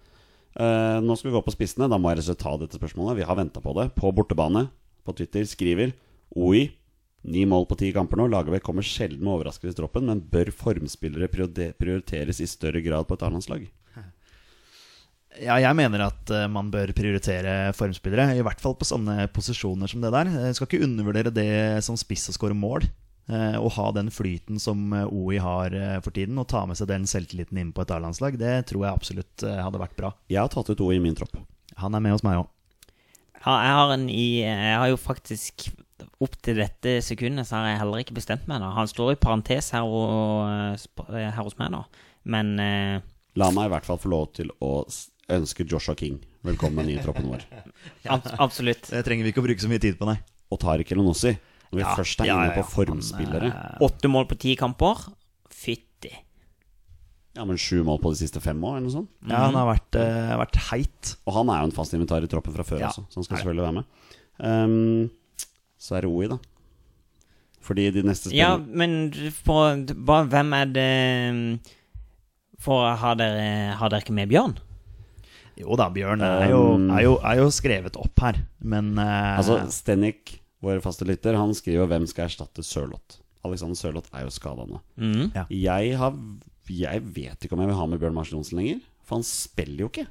Speaker 1: Eh, nå skal vi gå på spissene. Da må jeg rett og slett ta dette spørsmålet. Vi har venta på det. På bortebane, på Twitter, skriver OI. Ni mål på ti kamper nå. Lagerbäck kommer sjelden med overraskelser i troppen, men bør formspillere priorite- prioriteres i større grad på et A-landslag?
Speaker 3: Ja, jeg mener at eh, man bør prioritere formspillere. I hvert fall på sånne posisjoner som det der. Eh, Skal ikke undervurdere det som spiss å skåre mål. eh, Å ha den flyten som eh, OI har eh, for tiden, og ta med seg den selvtilliten inn på et A-landslag, det tror jeg absolutt eh, hadde vært bra.
Speaker 1: Jeg har tatt ut OI i min tropp.
Speaker 3: Han er med hos meg òg.
Speaker 2: Ja, jeg har en i Jeg har jo faktisk Opp til dette sekundet så har jeg heller ikke bestemt meg, da. Han står i parentes her, og, eh, sp- eh, her hos meg, da. Men eh,
Speaker 1: La meg i hvert fall få lov til å s- ønske Joshua King velkommen i troppen vår.
Speaker 2: ab absolutt.
Speaker 3: Det trenger vi ikke å bruke så mye tid på, nei.
Speaker 1: Og Tariq Elenossi, når vi
Speaker 3: Ja,
Speaker 1: først er
Speaker 3: ja,
Speaker 1: inne
Speaker 3: ja,
Speaker 1: på formspillere.
Speaker 2: Åtte mål på ti kamper. Fytti.
Speaker 1: Ja, men sju mål på de siste fem år, eller noe sånt.
Speaker 3: Ja, han har vært, eh, vært heit.
Speaker 1: Og han er jo en fast inventar i troppen fra før
Speaker 3: Ja.
Speaker 1: også, så han skal selvfølgelig være med. Ehm, så er det OI, da. Fordi de neste
Speaker 2: Ja,
Speaker 1: spillerne
Speaker 2: men for, hva- hvem er det For har dere, har dere ikke med Bjørn?
Speaker 3: Jo da, Bjørn er jo, er jo, er jo skrevet opp her, men eh,
Speaker 1: Um, Altså, Stenik, vår faste lytter, han skriver 'Hvem skal erstatte Sørloth?' Alexander Sørloth er jo skada nå.
Speaker 2: Mhm.
Speaker 3: Ja.
Speaker 1: Jeg, har, jeg vet ikke om jeg vil ha med Bjørn Marsen Johnsen lenger, for han spiller jo ikke.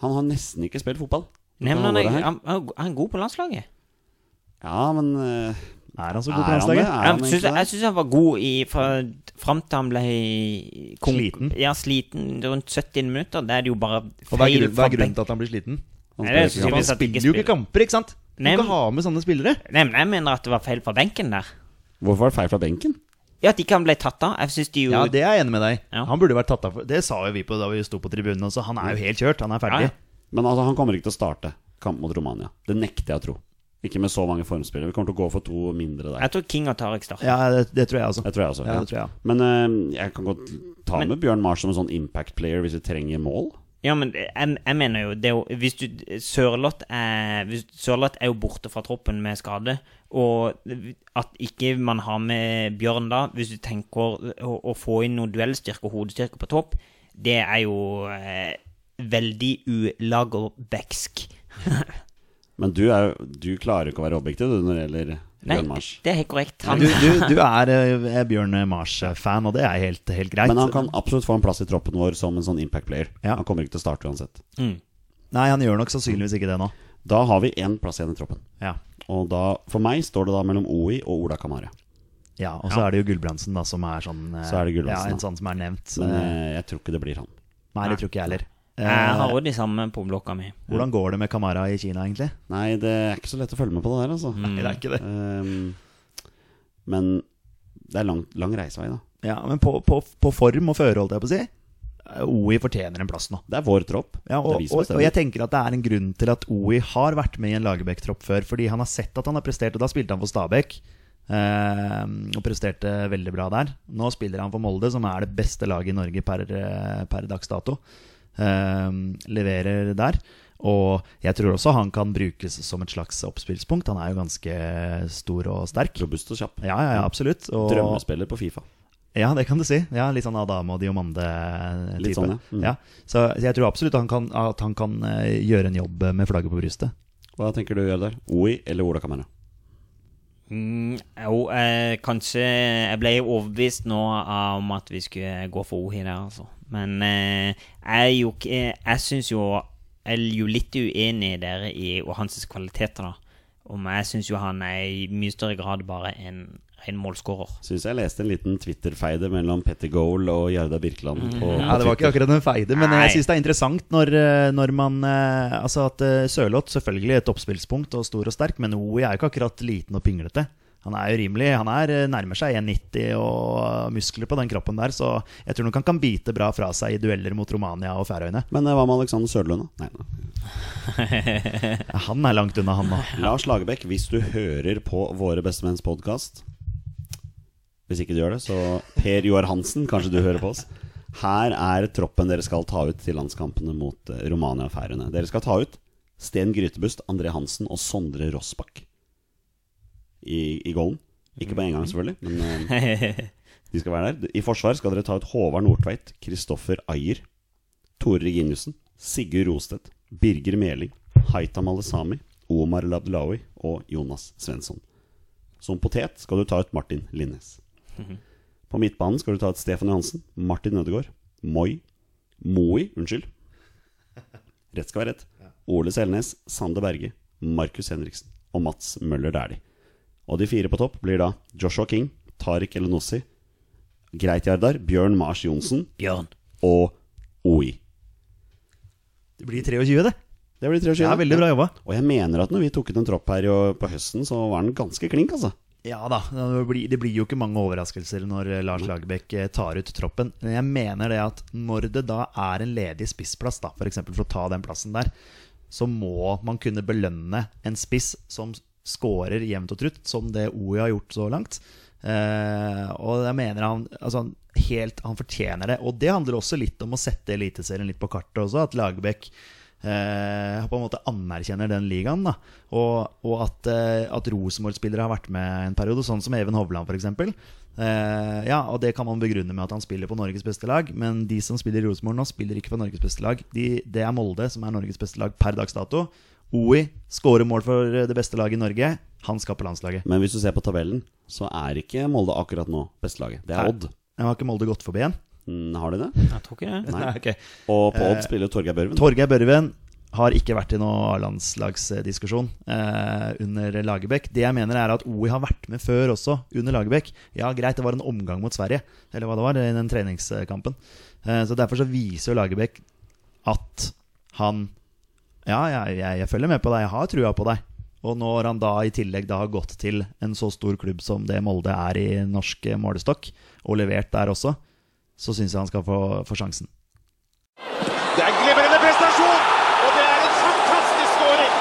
Speaker 1: Han har nesten ikke spilt fotball.
Speaker 2: Nei, men han,
Speaker 1: Dette
Speaker 2: er,
Speaker 1: året her.
Speaker 2: han, han er god på landslaget.
Speaker 1: Ja, men eh,
Speaker 3: Er han så
Speaker 1: er
Speaker 3: god på
Speaker 1: han det? Er
Speaker 3: landslaget?
Speaker 2: Jeg
Speaker 1: han
Speaker 2: syns,
Speaker 1: egentlig det?
Speaker 2: jeg syns han var god i, fra, fram til han ble kon-
Speaker 3: Sliten.
Speaker 2: Ja, sliten rundt 70 minutter. Det er det jo bare
Speaker 5: Og hva er,
Speaker 2: feil
Speaker 5: grunn, hva
Speaker 2: fra
Speaker 5: er grunnen
Speaker 2: benk.
Speaker 5: til at han blir sliten?
Speaker 1: Han
Speaker 2: Nei, det er
Speaker 1: spiller ikke.
Speaker 2: synes
Speaker 5: Han
Speaker 2: at de ikke
Speaker 5: spiller jo ikke
Speaker 2: spiller.
Speaker 5: kamper, ikke sant? Du
Speaker 2: Nei,
Speaker 5: kan
Speaker 2: men-
Speaker 5: ikke ha med sånne spillere.
Speaker 2: Nei, men jeg mener at det var feil fra benken der.
Speaker 1: Hvorfor var det feil fra benken?
Speaker 2: Ja, At ikke han ble tatt av. Jeg syns de jo
Speaker 5: Ja, det er jeg enig med deg.
Speaker 2: Ja.
Speaker 5: Han burde vært tatt av for
Speaker 3: Det sa jo vi på da vi sto på tribunen også. Han er jo helt kjørt. Han er ferdig.
Speaker 2: Ja,
Speaker 1: Men altså, han kommer ikke til å starte kamp mot Romania. Det nekter jeg å tro. Ikke med så mange formspillere. Vi kommer til å gå for to mindre der.
Speaker 2: Jeg tror King og Tariq starter.
Speaker 3: Ja, det, det tror jeg også.
Speaker 1: Jeg tror jeg også.
Speaker 3: Ja, det tror jeg.
Speaker 1: Men eh, jeg kan godt ta med Bjørn Mars som en sånn impact player hvis vi trenger mål.
Speaker 2: Ja, men jeg, jeg mener jo det er jo Hvis du Sørloth er, hvis- Sørloth er jo borte fra troppen med skade, og at ikke man har med Bjørn da, hvis du tenker å, å få inn noe duellstyrke og hodestyrke på topp, det er jo eh, veldig ulagerbecksk.
Speaker 1: Men du, er, jo- du klarer jo ikke å være objektiv du, når det gjelder
Speaker 2: Nei,
Speaker 1: Bjørn Mars.
Speaker 2: det er helt korrekt. Han,
Speaker 3: Du, du, du er eh, Bjørn Mars-fan, og det er helt, helt greit.
Speaker 1: Men han kan absolutt få en plass i troppen vår som en sånn impact player.
Speaker 3: Ja.
Speaker 1: Han kommer ikke til å starte uansett.
Speaker 2: mm.
Speaker 3: Nei, han gjør nok sannsynligvis ikke det nå.
Speaker 1: Da har vi én plass igjen i troppen.
Speaker 3: Ja,
Speaker 1: Og da, for meg står det da mellom OI og Ola Kamara.
Speaker 3: ja Og så er det jo Gulbrandsen, da, som er sånn eh,
Speaker 1: Så er det Gulbrandsen,
Speaker 3: Ja, en
Speaker 1: da.
Speaker 3: sånn som er nevnt.
Speaker 1: Men
Speaker 3: Eh,
Speaker 1: eh, jeg tror ikke det blir han.
Speaker 3: Nei, det tror ikke jeg heller. Eh,
Speaker 2: Jeg har òg de samme på blokka mi.
Speaker 3: Hvordan går det med Kamara i Kina, egentlig?
Speaker 1: Nei, det er ikke så lett å følge med på det der, altså.
Speaker 2: Mm.
Speaker 3: Nei, det er ikke det.
Speaker 1: Ehm, men det er lang, lang reisevei, da.
Speaker 3: Ja, Men på, på, på form og føre, holdt jeg på å si. eh, OI fortjener en plass nå.
Speaker 1: Det er vår tropp.
Speaker 3: Ja,
Speaker 1: det er
Speaker 3: og,
Speaker 1: vi som
Speaker 3: og, og
Speaker 1: bestemmer.
Speaker 3: jeg tenker at det er en grunn til at OI har vært med i en Lagerbäck-tropp før, fordi han har sett at han har prestert, og da spilte han for Stabæk. eh, og presterte veldig bra der. Nå spiller han for Molde, som er det beste laget i Norge per, eh, per dags dato. Eh, leverer der. Og jeg tror også han kan brukes som et slags oppspillspunkt. Han er jo ganske stor og sterk.
Speaker 1: Robust og kjapp.
Speaker 3: Ja, ja, ja absolutt. Og,
Speaker 1: Drømmespiller på Fifa.
Speaker 3: ja, det kan du si. Ja, Litt sånn Adamo og Diomande-type.
Speaker 1: Litt sånn, ja. Mm.
Speaker 3: Så jeg tror absolutt han kan, at han kan eh, gjøre en jobb med flagget på brystet.
Speaker 1: Hva tenker du å gjøre der? OI eller Ola Kamara?
Speaker 2: Mm, jo, eh, kanskje Jeg ble jo overbevist nå av- om at vi skulle gå for Ohi der, altså. Men eh, jeg, er jo, ikke- jeg syns jo Jeg er jo litt uenig i dere i og hans kvaliteter, da. Om jeg syns jo han er i mye større grad bare en ren målskårer.
Speaker 1: Syns jeg leste en liten Twitter-feide mellom Petter Goal og Jarda Birkeland. På,
Speaker 3: Mm. Ja, Det var ikke akkurat en feide, men
Speaker 2: Nei.
Speaker 3: jeg syns det er interessant når, eh, når man eh, Altså at eh, Sørloth selvfølgelig et oppspillspunkt og stor og sterk, men OI er jo ikke akkurat liten og pinglete. Han er jo rimelig. Han er, eh, nærmer seg 1,90 og eh, muskler på den kroppen der, så jeg tror nok han kan bite bra fra seg i dueller mot Romania og Færøyene.
Speaker 1: Men eh, hva med Alexander Sørlund, da? Nei, nei.
Speaker 3: Ja, Han er langt unna, han nå.
Speaker 1: Lars Lagerbäck, hvis du hører på Våre bestemenns podkast Hvis ikke du gjør det, så Per Joar Hansen, kanskje du hører på oss. Her er troppen dere skal ta ut til landskampene mot eh, Romania og Færøyene. Dere skal ta ut Sten Grytebust, André Hansen og Sondre Rossbakk i, i golden. Ikke på en gang, selvfølgelig, men eh, de skal være der. I forsvar skal dere ta ut Håvard Nordtveit, Kristoffer Ayer, Tore Reginiussen, Sigurd Rostedt, Birger Meling, Haita Malesami, Omar Labdelawi og Jonas Svensson. Som potet skal du ta ut Martin Linnes. På midtbanen skal du ta ut Stefan Johansen, Martin Ødegaard, Moi, Moi, unnskyld. Rett skal være rett. Ole Selnes, Sander Berge, Markus Henriksen og Mats Møller Dæhlie. Og de fire på topp blir da Joshua King, Tariq Elenossi, Greit Jardar, Bjørn Mars Johnsen
Speaker 2: Bjørn.
Speaker 1: og OI.
Speaker 3: Det blir 23, det.
Speaker 1: Det blir tre
Speaker 3: Det er veldig bra jobba.
Speaker 1: Og jeg mener at når vi tok ut en tropp her jo på høsten, så var den ganske klink, altså.
Speaker 3: Ja da, det blir, det blir jo ikke mange overraskelser når eh, Lars Lagerbäck eh, tar ut troppen. Men jeg mener det at når det da er en ledig spissplass, da, f.eks. For, for å ta den plassen der, så må man kunne belønne en spiss som scorer jevnt og trutt, som det OI har gjort så langt. Eh, og jeg mener han altså han, helt, han fortjener det. Og det handler også litt om å sette Eliteserien litt på kartet også, at Lagerbäck eh, på en måte anerkjenner den ligaen. Da. Og, og at, eh, at Rosenborg-spillere har vært med en periode, sånn som Even Hovland f.eks. Eh, ja, og det kan man begrunne med at han spiller på Norges beste lag, men de som spiller i Rosenborg nå, spiller ikke på Norges beste lag. De, det er Molde som er Norges beste lag per dags dato. OI skårer mål for eh, det beste laget i Norge. Han skal på landslaget.
Speaker 1: Men hvis du ser på tabellen, så er ikke Molde akkurat nå bestelaget. Det
Speaker 3: Nei.
Speaker 1: er Odd.
Speaker 3: Men Har ikke Molde gått forbi igjen?
Speaker 1: Mm, har de det?
Speaker 2: Jeg tror ikke det.
Speaker 1: Nei.
Speaker 3: ok. Eh,
Speaker 1: Og på Odd spiller Torgeir Børven.
Speaker 3: Torgeir Børven har ikke vært i noe landslagsdiskusjon eh, under Lagerbäck. Det jeg mener er at OI har vært med før også, under Lagerbäck. Ja, greit, det var en omgang mot Sverige, eller hva det var, i den treningskampen. Eh, så derfor så viser jo Lagerbäck at han Ja, jeg, jeg, jeg følger med på deg, jeg har trua på deg. Og når han da i tillegg da har gått til en så stor klubb som det Molde er i norsk eh, målestokk, og levert der også, så syns jeg han skal få, få sjansen.
Speaker 4: Det er en glimrende prestasjon, og det er en fantastisk scoring.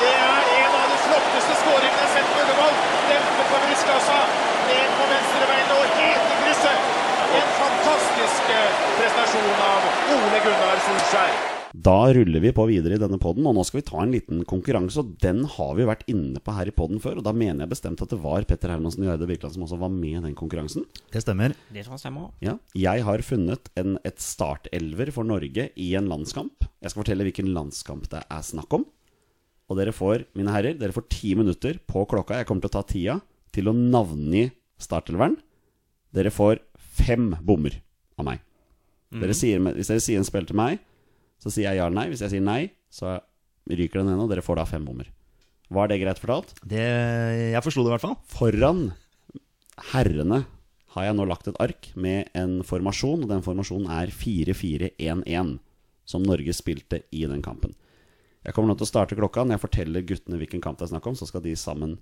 Speaker 4: Det er en av de flotteste scoringene jeg har sett på Ullevål. Dempe på brystkassa, ned på venstrebeinet og helt i krysset. En fantastisk eh, prestasjon av Ole Gunnar Solskjær.
Speaker 1: Da ruller vi på videre i denne poden, og nå skal vi ta en liten konkurranse. Og den har vi vært inne på her i poden før, og da mener jeg bestemt at det var Petter Hermansen Gjerde Birkeland som også var med i den konkurransen.
Speaker 3: Det stemmer.
Speaker 2: Det tror jeg stemmer.
Speaker 1: Ja. Jeg har funnet en, et startelver for Norge i en landskamp. Jeg skal fortelle hvilken landskamp det er snakk om. Og dere får, mine herrer, dere får ti minutter på klokka. Jeg kommer til å ta tida til å navngi startelveren. Dere får fem bommer av meg. Dere sier, hvis dere sier en spill til meg, så sier jeg ja eller nei. Hvis jeg sier nei, så ryker den ene, og dere får da fem bommer. Var det greit fortalt?
Speaker 3: Det, jeg forsto det i hvert fall.
Speaker 1: Foran herrene har jeg nå lagt et ark med en formasjon, og den formasjonen er 4-4-1-1, som Norge spilte i den kampen. Jeg kommer nå til å starte klokka. Når jeg forteller guttene hvilken kamp det er snakk om, så skal de sammen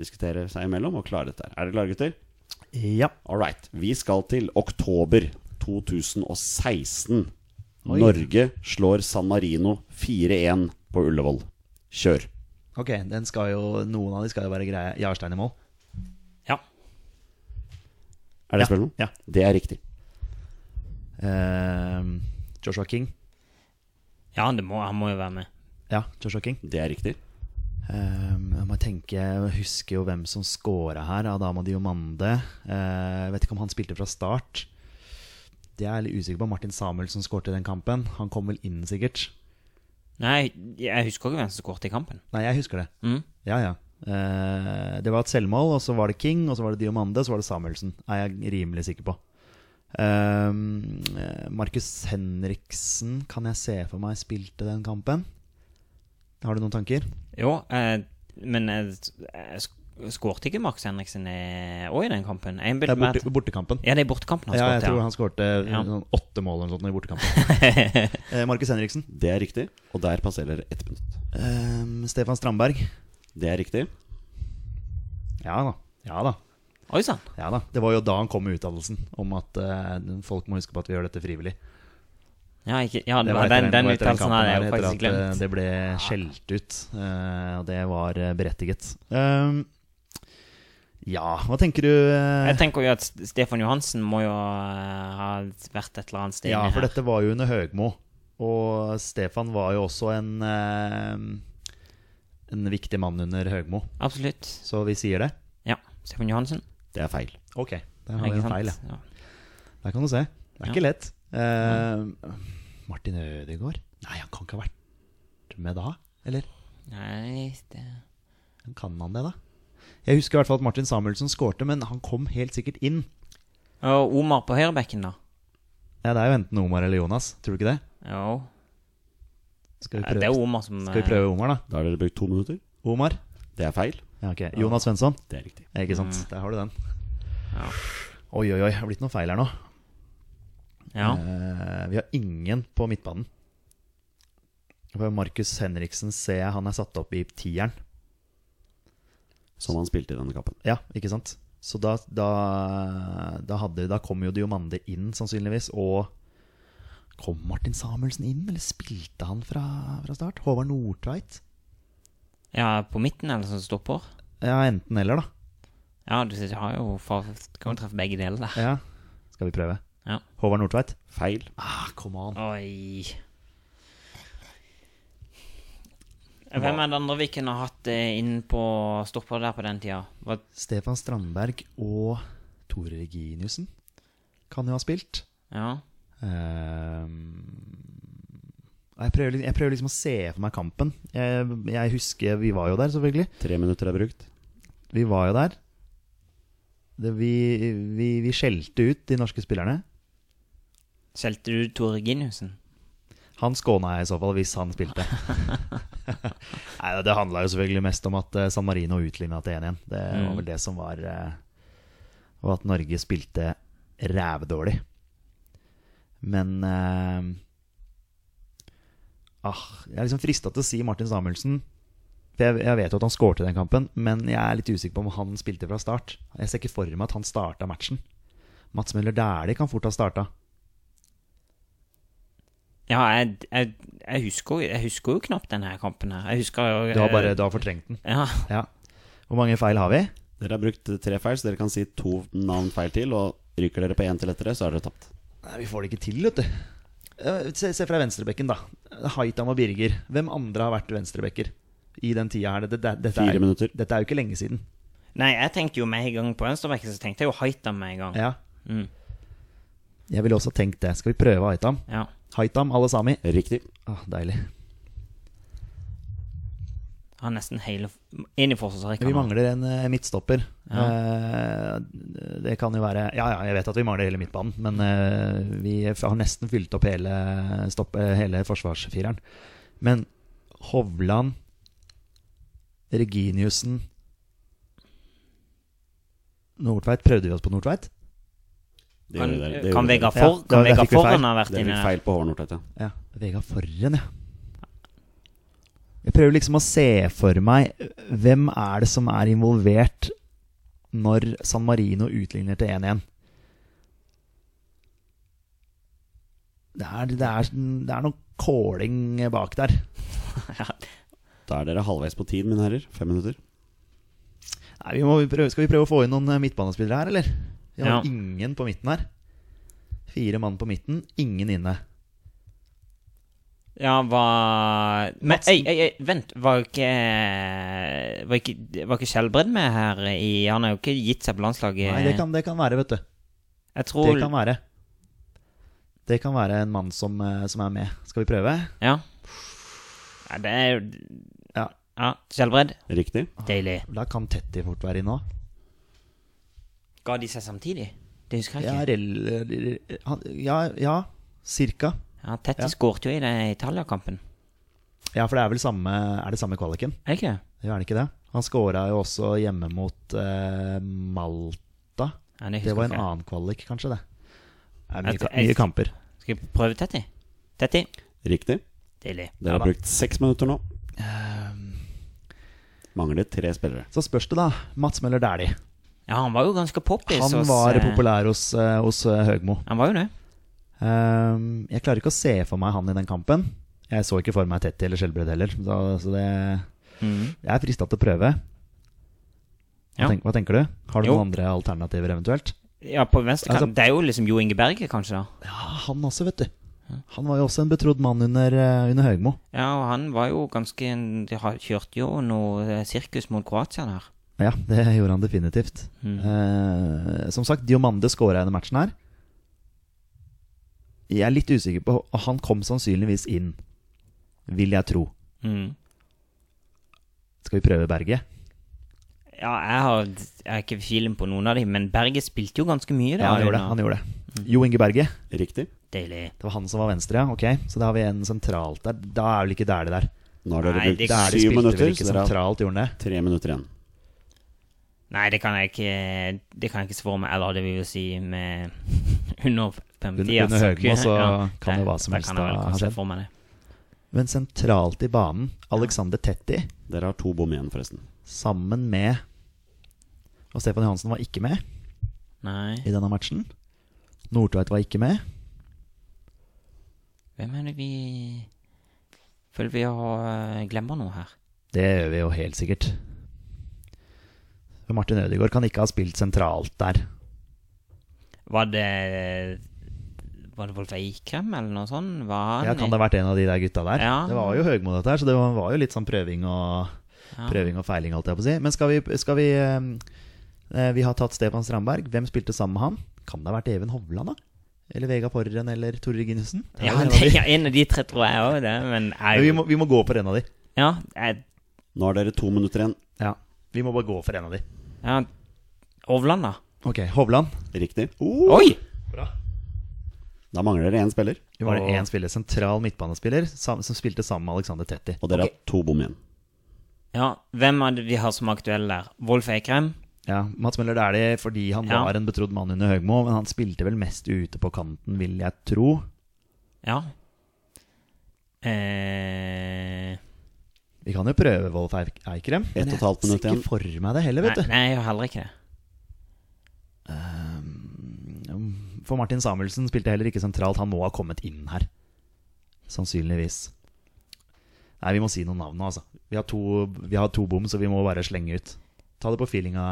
Speaker 1: diskutere seg imellom og klare dette. her. Er dere klare, gutter?
Speaker 3: Ja.
Speaker 1: All right. Vi skal til oktober 2016. Norge slår San Marino 4-1 på Ullevål. Kjør.
Speaker 3: Ok, den skal jo, Noen av de skal jo være greie. Jarstein i mål.
Speaker 2: Ja.
Speaker 1: Er det spørsmål?
Speaker 3: Ja.
Speaker 1: Det er riktig.
Speaker 3: Ehm, Joshua King.
Speaker 2: Ja, det må, han må jo være med.
Speaker 3: Ja, Joshua King.
Speaker 1: Det er riktig.
Speaker 3: Ehm, jeg må tenke, jeg husker jo hvem som scora her. Adama Diomande. Eh, jeg vet ikke om han spilte fra start. Det er jeg litt usikker på. Martin Samuelsen skårte i den kampen. Han kom vel inn, sikkert.
Speaker 2: Nei, jeg husker ikke hvem som skåret i kampen.
Speaker 3: Nei, jeg husker det.
Speaker 2: Mm.
Speaker 3: Ja, ja. Eh, det var et selvmål, og så var det King, og så var det Diomande, og så var det Samuelsen. Er jeg rimelig sikker på. Ehm, eh, Markus Henriksen kan jeg se for meg spilte den kampen. Har du noen tanker?
Speaker 2: Jo, eh, men jeg, jeg sk- skårte ikke Max Henriksen òg i den kampen? Jeg
Speaker 3: Det er
Speaker 2: innbilte meg
Speaker 3: borte,
Speaker 2: at
Speaker 3: bortekampen.
Speaker 2: Ja, det er bortekampen han
Speaker 3: Ja, jeg
Speaker 2: skårte,
Speaker 3: tror
Speaker 2: ja.
Speaker 3: han skårte
Speaker 2: Ja.
Speaker 3: sånn åtte mål eller noe sånt i bortekampen. Eh, Markus Henriksen.
Speaker 1: Det er riktig. Og der passerer ett minutt.
Speaker 3: Eh, Ehm, Stefan Strandberg.
Speaker 1: Det er riktig.
Speaker 3: Ja da. Ja da.
Speaker 2: Oi sann.
Speaker 3: Ja da. Det var jo da han kom med uttalelsen om at eh, folk må huske på at vi gjør dette frivillig.
Speaker 2: Ja, ikke, ja
Speaker 3: Det
Speaker 2: den,
Speaker 3: var etter
Speaker 2: den,
Speaker 3: det var etter
Speaker 2: uttalelsen hadde
Speaker 3: kampen
Speaker 2: jeg jo
Speaker 3: her, etter
Speaker 2: faktisk
Speaker 3: at, eh,
Speaker 2: glemt.
Speaker 3: Det ble skjelt ut, eh, og det var eh, berettiget. Ehm, ja, hva tenker du? eh,
Speaker 2: Jeg tenker jo at S- Stefan Johansen må jo eh, ha vært et eller annet sted
Speaker 3: Ja,
Speaker 2: inni
Speaker 3: for
Speaker 2: her.
Speaker 3: dette var jo under Høgmo. Og Stefan var jo også en eh, En viktig mann under Høgmo,
Speaker 2: Absolutt.
Speaker 3: så vi sier det.
Speaker 2: Ja. Stefan Johansen.
Speaker 1: Det er feil.
Speaker 3: Ok, der har vi
Speaker 2: ikke
Speaker 3: en
Speaker 2: sant?
Speaker 3: feil, ja.
Speaker 2: Ja.
Speaker 3: Der kan du se. Det er
Speaker 2: Ja.
Speaker 3: ikke lett. Eh, Martin Ødegaard? Nei, han kan ikke ha vært med da? Eller
Speaker 2: Nei, det
Speaker 3: kan han det, da? Jeg husker i hvert fall at Martin Samuelsen skårte, men han kom helt sikkert inn.
Speaker 2: Og Omar på høyrebekken, da?
Speaker 3: Ja, Det er jo enten Omar eller Jonas, tror du ikke det?
Speaker 2: Jo.
Speaker 3: Skal vi
Speaker 2: Det er
Speaker 3: prøve,
Speaker 2: Omar som
Speaker 3: skal vi prøve Omar, da?
Speaker 1: Da har dere brukt to minutter.
Speaker 3: Omar?
Speaker 1: Det er feil.
Speaker 3: Ja, ok. Jonas Svensson?
Speaker 1: Det er riktig.
Speaker 3: Ikke sant. Der har du den.
Speaker 2: Mm. Ja.
Speaker 3: Oi, oi, oi. Det har blitt noen feil her nå.
Speaker 2: Ja.
Speaker 3: Eh, vi har ingen på midtbanen. For Markus Henriksen ser jeg han er satt opp i tieren.
Speaker 1: Som han spilte i denne kampen.
Speaker 3: Ja, ikke sant? Så da, da, da, hadde, da kom jo Diomande inn, sannsynligvis. Og kom Martin Samuelsen inn, eller spilte han fra, fra start? Håvard Nordtveit?
Speaker 2: ja, på midten, eller som stopper?
Speaker 3: Ja, enten eller, da.
Speaker 2: Ja, du sier- har jo fa- kan jo treffe begge deler der.
Speaker 3: Ja. Skal vi prøve?
Speaker 2: Ja.
Speaker 3: Håvard Nordtveit?
Speaker 1: Feil.
Speaker 3: Ah, come on.
Speaker 2: Oi. Hvem er det andre vi kunne hatt eh, inn på stopper der på den tida? Var,
Speaker 3: Stefan Strandberg og Tore Reginiussen kan jo ha spilt.
Speaker 2: ja.
Speaker 3: Eh, jeg, prøver, litt- jeg prøver liksom å se for meg kampen. Jeg, jeg husker Vi var jo der, selvfølgelig.
Speaker 1: Tre minutter er brukt.
Speaker 3: Vi var jo der. Det, vi, vi, vi skjelte ut de norske spillerne.
Speaker 2: Skjelte du Tore Giniussen?
Speaker 3: Han skåna jeg i så fall, hvis han spilte. Nei, Det handla jo selvfølgelig mest om at eh, San Marino utligna til 1-1. Det var
Speaker 2: Mm.
Speaker 3: vel det som var eh, Og at Norge spilte rævdårlig. Men eh, ah, Jeg er liksom frista til å si Martin Samuelsen. For jeg, jeg vet jo at han skårte i den kampen, men jeg er litt usikker på om han spilte fra start. Jeg ser ikke for meg at han starta matchen. Mats Møller Dæhlie kan fort ha starta.
Speaker 2: Ja, jeg, jeg, jeg, husker, jo- jeg husker jo knapt denne kampen her. Jeg husker jo eh,
Speaker 3: Du har bare du har fortrengt den.
Speaker 2: Ja,
Speaker 3: Ja. Hvor mange feil har vi?
Speaker 1: Dere har brukt tre feil, så dere kan si to navn feil til. Og ryker dere på én til etter det, så er dere tapt.
Speaker 3: Nei, Vi får det ikke til, vet du. Eh, Se, se fra venstrebekken, da. Haitam og Birger. Hvem andre har vært venstrebekker i den tida her? Dette, dette,
Speaker 1: Fire
Speaker 3: er,
Speaker 1: minutter.
Speaker 3: dette er jo ikke lenge siden.
Speaker 2: Nei, jeg tenkte jo med en gang på venstrebekken, så tenkte jeg jo Haitam med en gang.
Speaker 3: Ja.
Speaker 2: Mm.
Speaker 3: Jeg ville også tenkt det. Skal vi prøve Haitam?
Speaker 2: Ja.
Speaker 3: Haitam, alle sami.
Speaker 1: Riktig.
Speaker 3: Ah, deilig.
Speaker 2: Har nesten hele inn i forsvarsrekka.
Speaker 3: Vi
Speaker 2: nå.
Speaker 3: mangler en eh, midtstopper. Eh, Det kan jo være Ja, ja, jeg vet at vi mangler hele midtbanen, men eh, vi har nesten fylt opp hele, stopp, eh, hele forsvarsfireren. Men Hovland, Reginiussen Nordtveit. Prøvde vi oss på Nordtveit?
Speaker 1: Det
Speaker 2: Kan,
Speaker 1: gjorde dere. Det
Speaker 2: kan
Speaker 1: gjorde dere.
Speaker 2: Vegard for,
Speaker 3: Ja,
Speaker 2: kan
Speaker 3: der
Speaker 2: Vegard
Speaker 3: fikk vi feil.
Speaker 2: Forhen ha vært
Speaker 1: Dere
Speaker 2: inne?
Speaker 1: fikk feil på Håvard Nordtveit, ja.
Speaker 3: Ja. Vegard Forren, ja. Jeg prøver liksom å se for meg hvem er det som er involvert når San Marino utligner til 1-1. Det er, det, er, det er noe calling bak der.
Speaker 1: Da er dere halvveis på tid, mine herrer. Fem minutter.
Speaker 3: Nei, vi må prøve, skal vi prøve å få inn noen eh, midtbanespillere her, eller? Vi har
Speaker 2: Ja.
Speaker 3: ingen på midten her. Fire mann på midten, ingen inne.
Speaker 2: Ja, var Men
Speaker 3: Madsen.
Speaker 2: ei, ei, ei, vent. Var ikke Var ikke, var ikke Skjelbred med her i Han har jo ikke gitt seg på landslaget.
Speaker 3: Nei, det kan, det kan være, vet du.
Speaker 2: jeg
Speaker 3: Det
Speaker 2: tror
Speaker 3: kan være. Det kan være en mann som, eh, som er med. Skal vi prøve?
Speaker 2: Ja. ja det er jo
Speaker 3: Ja. Ah.
Speaker 2: ja Skjelbred.
Speaker 1: Riktig.
Speaker 2: Deilig.
Speaker 3: Da kan Tetty fort være inne òg.
Speaker 2: Ga de seg samtidig? Det husker
Speaker 3: Ja,
Speaker 2: jeg ikke.
Speaker 3: rel- han- ja, ja, cirka.
Speaker 2: Ja, Tetty
Speaker 3: Ja.
Speaker 2: skårte jo i den Italia-kampen.
Speaker 3: Ja, for det er vel samme, er det samme kvaliken?
Speaker 2: Er det ikke det?
Speaker 3: Gjør han ikke det? Han scora jo også hjemme mot eh, Malta.
Speaker 2: Ja, det,
Speaker 3: Det
Speaker 2: husker
Speaker 3: var en
Speaker 2: ikke jeg.
Speaker 3: annen kvalik, kanskje det. Det er
Speaker 2: Jeg
Speaker 3: mye,
Speaker 2: tror-
Speaker 3: ka- mye
Speaker 2: jeg-
Speaker 3: kamper.
Speaker 2: Skal vi prøve Tetty? Tetty.
Speaker 1: Riktig.
Speaker 2: Deilig.
Speaker 1: Dere har brukt seks minutter nå. Mangler tre spillere.
Speaker 3: Så spørs det, da. Mats Møller Dæhlie.
Speaker 2: Ja, han var jo ganske poppis.
Speaker 3: Han
Speaker 2: hos,
Speaker 3: var
Speaker 2: eh,
Speaker 3: populær hos, eh, hos eh, Høgmo.
Speaker 2: Han var jo det.
Speaker 3: Ehm, jeg klarer ikke å se for meg han i den kampen. Jeg så ikke for meg Tetty eller Skjelbred heller, så, så det Jeg er frista til å prøve. Hva,
Speaker 2: Ja.
Speaker 3: tenk, hva tenker du? Har du
Speaker 2: Jo.
Speaker 3: noen andre alternativer eventuelt?
Speaker 2: Ja, på venstre kant.
Speaker 3: Altså-
Speaker 2: det er jo liksom Jo Inge Berge, kanskje, da.
Speaker 3: Ja, han også, vet du. Han var jo også en betrodd mann under, eh, under Høgmo.
Speaker 2: Ja, og han var jo ganske De har- kjørte jo noe eh, sirkus mot Kroatia der.
Speaker 3: Ja, det gjorde han definitivt. Eh, som sagt, Diomande skåra i denne matchen her. Jeg er litt usikker på og Han kom sannsynligvis inn, vil jeg tro.
Speaker 2: Mm.
Speaker 3: Skal vi prøve Berge?
Speaker 2: Ja, jeg har, jeg har ikke filen på noen av dem, men Berge spilte jo ganske mye der.
Speaker 3: Ja, han gjorde det.
Speaker 2: under.
Speaker 3: Han gjorde det. Jo Inge Berge.
Speaker 1: Riktig.
Speaker 2: Deilig.
Speaker 3: Det var han som var venstre, ja. Ok, så da har vi en sentralt der. Da er vel ikke der det der.
Speaker 1: Nå har dere
Speaker 2: Nei, det-
Speaker 1: brukt
Speaker 3: Der de
Speaker 1: syv
Speaker 3: spilte
Speaker 1: minutter,
Speaker 3: vel ikke
Speaker 1: så dere har
Speaker 3: sentralt, gjorde han det?
Speaker 1: tre minutter igjen.
Speaker 2: Nei, det kan jeg ikke Det kan jeg ikke svare med. Eller det vil jo si med under
Speaker 3: Under-
Speaker 2: 50.
Speaker 3: under Høgmo så kan jo hva som helst
Speaker 2: Da kan jeg
Speaker 3: ha
Speaker 2: vel kanskje
Speaker 3: skjedd.
Speaker 2: få med det.
Speaker 3: Men sentralt i banen, Alexander Tetti
Speaker 1: Dere har to bom igjen, forresten.
Speaker 3: sammen med Og Stefan Johansen var ikke med
Speaker 2: Nei,
Speaker 3: i denne matchen. Nordtveit var ikke med.
Speaker 2: hvem er det vi Føler vi har eh, glemmer noe her.
Speaker 3: Det gjør vi jo helt sikkert. Men Martin Ødegaard kan ikke ha spilt sentralt der.
Speaker 2: Var det Var det Wolf Eikrem eller noe sånt? Var han
Speaker 3: Ja, Kan det ha vært en av de der gutta der?
Speaker 2: Ja.
Speaker 3: Det var jo Høgmo, dette her, så det var var jo litt sånn prøving og,
Speaker 2: Ja.
Speaker 3: prøving og feiling, holdt jeg på å si. Men skal vi, skal vi eh, Vi har tatt Stefan Strandberg. Hvem spilte sammen med han? Kan det ha vært Even Hovland, da? Eller Vega Porren eller Tore Reginussen?
Speaker 2: Ja, det, ja, en av de tre tror jeg òg det, men jeg,
Speaker 3: Vi, må- vi må gå for en av de.
Speaker 2: Ja, jeg,
Speaker 1: Nå har dere to minutter igjen.
Speaker 3: Ja, vi må bare gå for en av de.
Speaker 2: ja Hovland, da.
Speaker 3: Ok, Hovland.
Speaker 1: Riktig.
Speaker 3: Oh.
Speaker 2: Oi!
Speaker 1: Da mangler dere én spiller,
Speaker 3: Det var det én spiller, sentral midtbanespiller, sam- som spilte sammen med Alexander Tetti.
Speaker 1: og dere har to bom igjen.
Speaker 2: Ja, hvem er det vi har som aktuelle der? Wolf Eikrem?
Speaker 3: Ja, Mats Møller det er det fordi han
Speaker 2: Ja.
Speaker 3: var en betrodd mann under Høgmo, men han spilte vel mest ute på kanten, vil jeg tro.
Speaker 2: Ja. Eh,
Speaker 3: Vi kan jo prøve Wolf Eik- Eikrem.
Speaker 1: Ett og et halvt
Speaker 3: jeg
Speaker 1: minutt
Speaker 3: ser
Speaker 1: igjen.
Speaker 3: ikke for meg det heller,
Speaker 2: nei,
Speaker 3: vet du.
Speaker 2: nei, jeg gjør heller ikke det.
Speaker 3: For Martin Samuelsen spilte heller ikke sentralt, han må ha kommet inn her. Sannsynligvis. Nei, vi må si noen navn nå, altså. Vi har to, vi har to bom, så vi må bare slenge ut. Ta det på feelinga,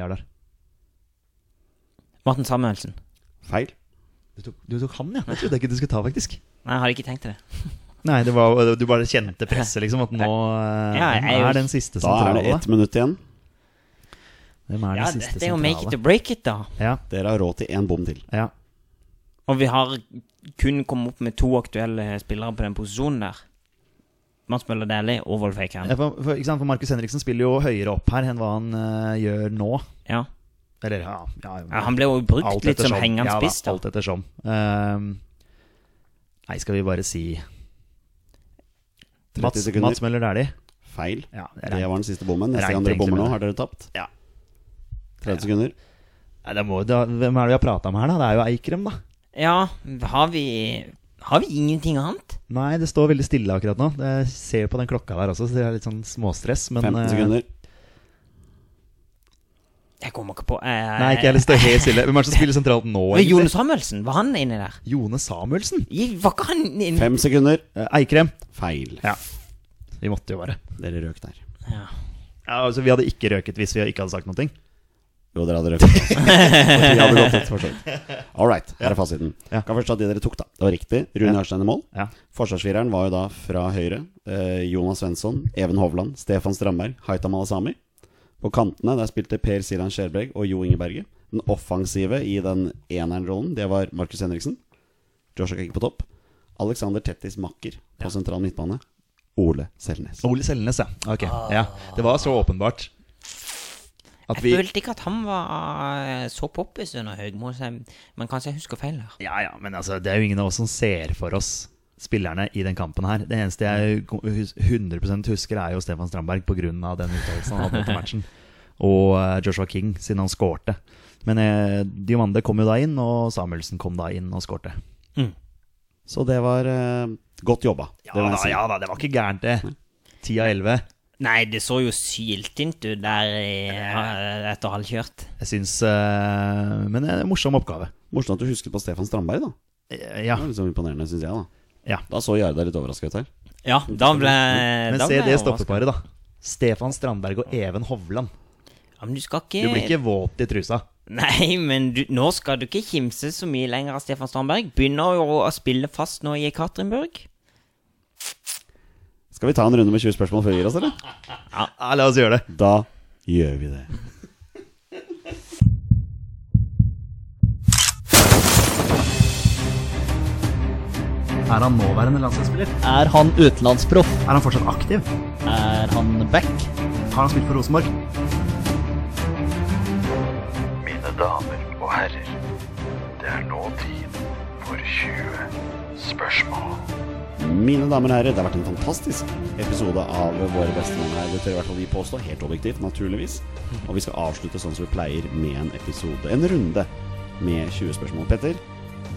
Speaker 3: Jardar.
Speaker 2: Martin Samuelsen.
Speaker 1: Feil.
Speaker 3: Du tok, du tok han, ja? Det trodde jeg ikke du skulle ta, faktisk.
Speaker 2: Nei, jeg hadde ikke tenkt til det.
Speaker 3: Nei, det var, du bare kjente presset, liksom. At nå eh,
Speaker 2: Ja, jeg
Speaker 3: hvem
Speaker 2: er jo-
Speaker 3: er den siste
Speaker 1: Da er
Speaker 3: sentrale.
Speaker 1: det ett minutt igjen.
Speaker 3: Hvem er den
Speaker 2: Ja,
Speaker 3: siste
Speaker 2: Dette er jo
Speaker 3: sentrale?
Speaker 2: make it or break it, da.
Speaker 3: Ja,
Speaker 1: Dere har råd til én bom til.
Speaker 3: ja.
Speaker 2: Og vi har kun kommet opp med to aktuelle spillere på den posisjonen der. Mats Møller Dæhlie og Wolf Eikrem.
Speaker 3: Ja, For, for, ikke sant? for Markus Henriksen spiller jo høyere opp her enn hva han eh, gjør nå.
Speaker 2: Ja.
Speaker 3: Eller ja, ja,
Speaker 2: ja, Han ble jo brukt litt som hengende
Speaker 3: ja,
Speaker 2: spiss,
Speaker 3: da,
Speaker 2: da.
Speaker 3: alt ettersom. Ehm, nei, skal vi bare si
Speaker 1: 30
Speaker 3: Mats,
Speaker 1: sekunder.
Speaker 3: Mats Møller Dæhlie.
Speaker 1: Feil.
Speaker 3: Ja, det
Speaker 1: Det
Speaker 3: er
Speaker 1: var
Speaker 3: rent.
Speaker 1: den siste bommen.
Speaker 3: Regnet
Speaker 1: Neste gang dere
Speaker 3: egentlig
Speaker 1: bommer
Speaker 3: med det.
Speaker 1: nå, har dere tapt.
Speaker 3: Ja.
Speaker 1: 30 sekunder.
Speaker 3: Nei, det må, da, hvem er det vi har prata om her, da? Det er jo Eikrem, da.
Speaker 2: Ja, har vi Har vi ingenting annet?
Speaker 3: Nei, det står veldig stille akkurat nå. Jeg ser på den klokka der også, så det er litt sånn småstress. Men
Speaker 1: 15
Speaker 3: eh,
Speaker 1: sekunder.
Speaker 2: Jeg kommer ikke på eh,
Speaker 3: Nei, ikke heller står helt stille. Hvem er det som spiller sentralt nå?
Speaker 2: Men
Speaker 3: egentlig?
Speaker 2: Jon Samuelsen, var han inni der?
Speaker 3: Jone Samuelsen?
Speaker 2: I- Var ikke han inni
Speaker 1: Fem sekunder.
Speaker 3: Eh, Eikrem?
Speaker 1: Feil.
Speaker 3: Ja. Vi måtte jo bare.
Speaker 1: Dere røk der.
Speaker 2: ja.
Speaker 3: Ja, altså, vi hadde ikke røket hvis vi ikke hadde sagt noe.
Speaker 1: Jo, dere hadde røket. altså. Vi hadde gått ut, for så vidt. All right, her er fasiten.
Speaker 3: Ja.
Speaker 1: Kan først ta de dere tok, da. Det var riktig. Rune
Speaker 3: Ja.
Speaker 1: Jarstein i mål.
Speaker 3: Ja.
Speaker 1: Forsvarsfireren var jo da fra høyre. Eh, Jonas Svensson, Even Hovland, Stefan Strandberg, Haita Malasami. På kantene der spilte Per Silan Skjerbreg og Jo Inge Berge. Den offensive i den eneren-rollen, det var Markus Henriksen. Joshua Kegg på topp. Alexander Tettis makker på sentral midtbane. Ole Selnes.
Speaker 3: Ole Selnes, ja. Ok, ja. Det var så åpenbart. At
Speaker 2: Jeg
Speaker 3: vi
Speaker 2: følte ikke at han var eh, så poppis under Høgmo, så jeg- men kanskje jeg husker feil her.
Speaker 3: Ja, ja, men altså, det er jo ingen av oss som ser for oss spillerne i den kampen her. Det eneste jeg ko- hus- 100 husker, er jo Stefan Strandberg pga. den uttalelsen han hadde etter matchen. Og eh, Joshua King, siden han skårte. Men eh, Diomande kom jo da inn, og Samuelsen kom da inn og skårte.
Speaker 1: Så det var eh, godt jobba.
Speaker 3: Ja
Speaker 1: det må jeg
Speaker 3: da,
Speaker 1: si.
Speaker 3: ja da, det var ikke gærent, det. Ti av elleve.
Speaker 2: Nei, det så jo syltynt ut der i, eh, etter halvkjørt.
Speaker 3: Jeg syns eh, Men det er en morsom oppgave.
Speaker 1: Morsomt at du husket på Stefan Strandberg, da.
Speaker 3: Eh, Ja.
Speaker 1: Det var liksom imponerende, syns jeg. Da
Speaker 3: Ja.
Speaker 1: Da så Jarda litt overraska ut her.
Speaker 2: Ja, da ble
Speaker 3: Men
Speaker 2: da
Speaker 3: se
Speaker 2: ble
Speaker 3: det
Speaker 2: jeg overrasket.
Speaker 3: stoppeparet, da. Stefan Strandberg og Even Hovland.
Speaker 2: Ja, men du skal ikke,
Speaker 3: Du blir ikke våt i trusa.
Speaker 2: Nei, men du, nå skal du ikke kimse så mye lenger av Stefan Strandberg. Begynner jo å spille fast nå i Ekaterinburg.
Speaker 1: Skal vi ta en runde med 20 spørsmål før vi gir oss, eller?
Speaker 3: Ja, la oss gjøre det.
Speaker 1: Da gjør vi det.
Speaker 5: Er han nåværende landslagsspiller?
Speaker 6: Er han utenlandsproff?
Speaker 5: Er han fortsatt aktiv?
Speaker 6: Er han back?
Speaker 5: Har han spilt for Rosenborg?
Speaker 7: Mine damer og herrer, det er nå tid for 20 spørsmål.
Speaker 1: Mine damer og herrer, det har vært en fantastisk episode av Våre beste menn her. Det tør i hvert fall vi påstå, helt objektivt, naturligvis. Og vi skal avslutte sånn som vi pleier, med en episode, en runde, med 20 spørsmål. Petter,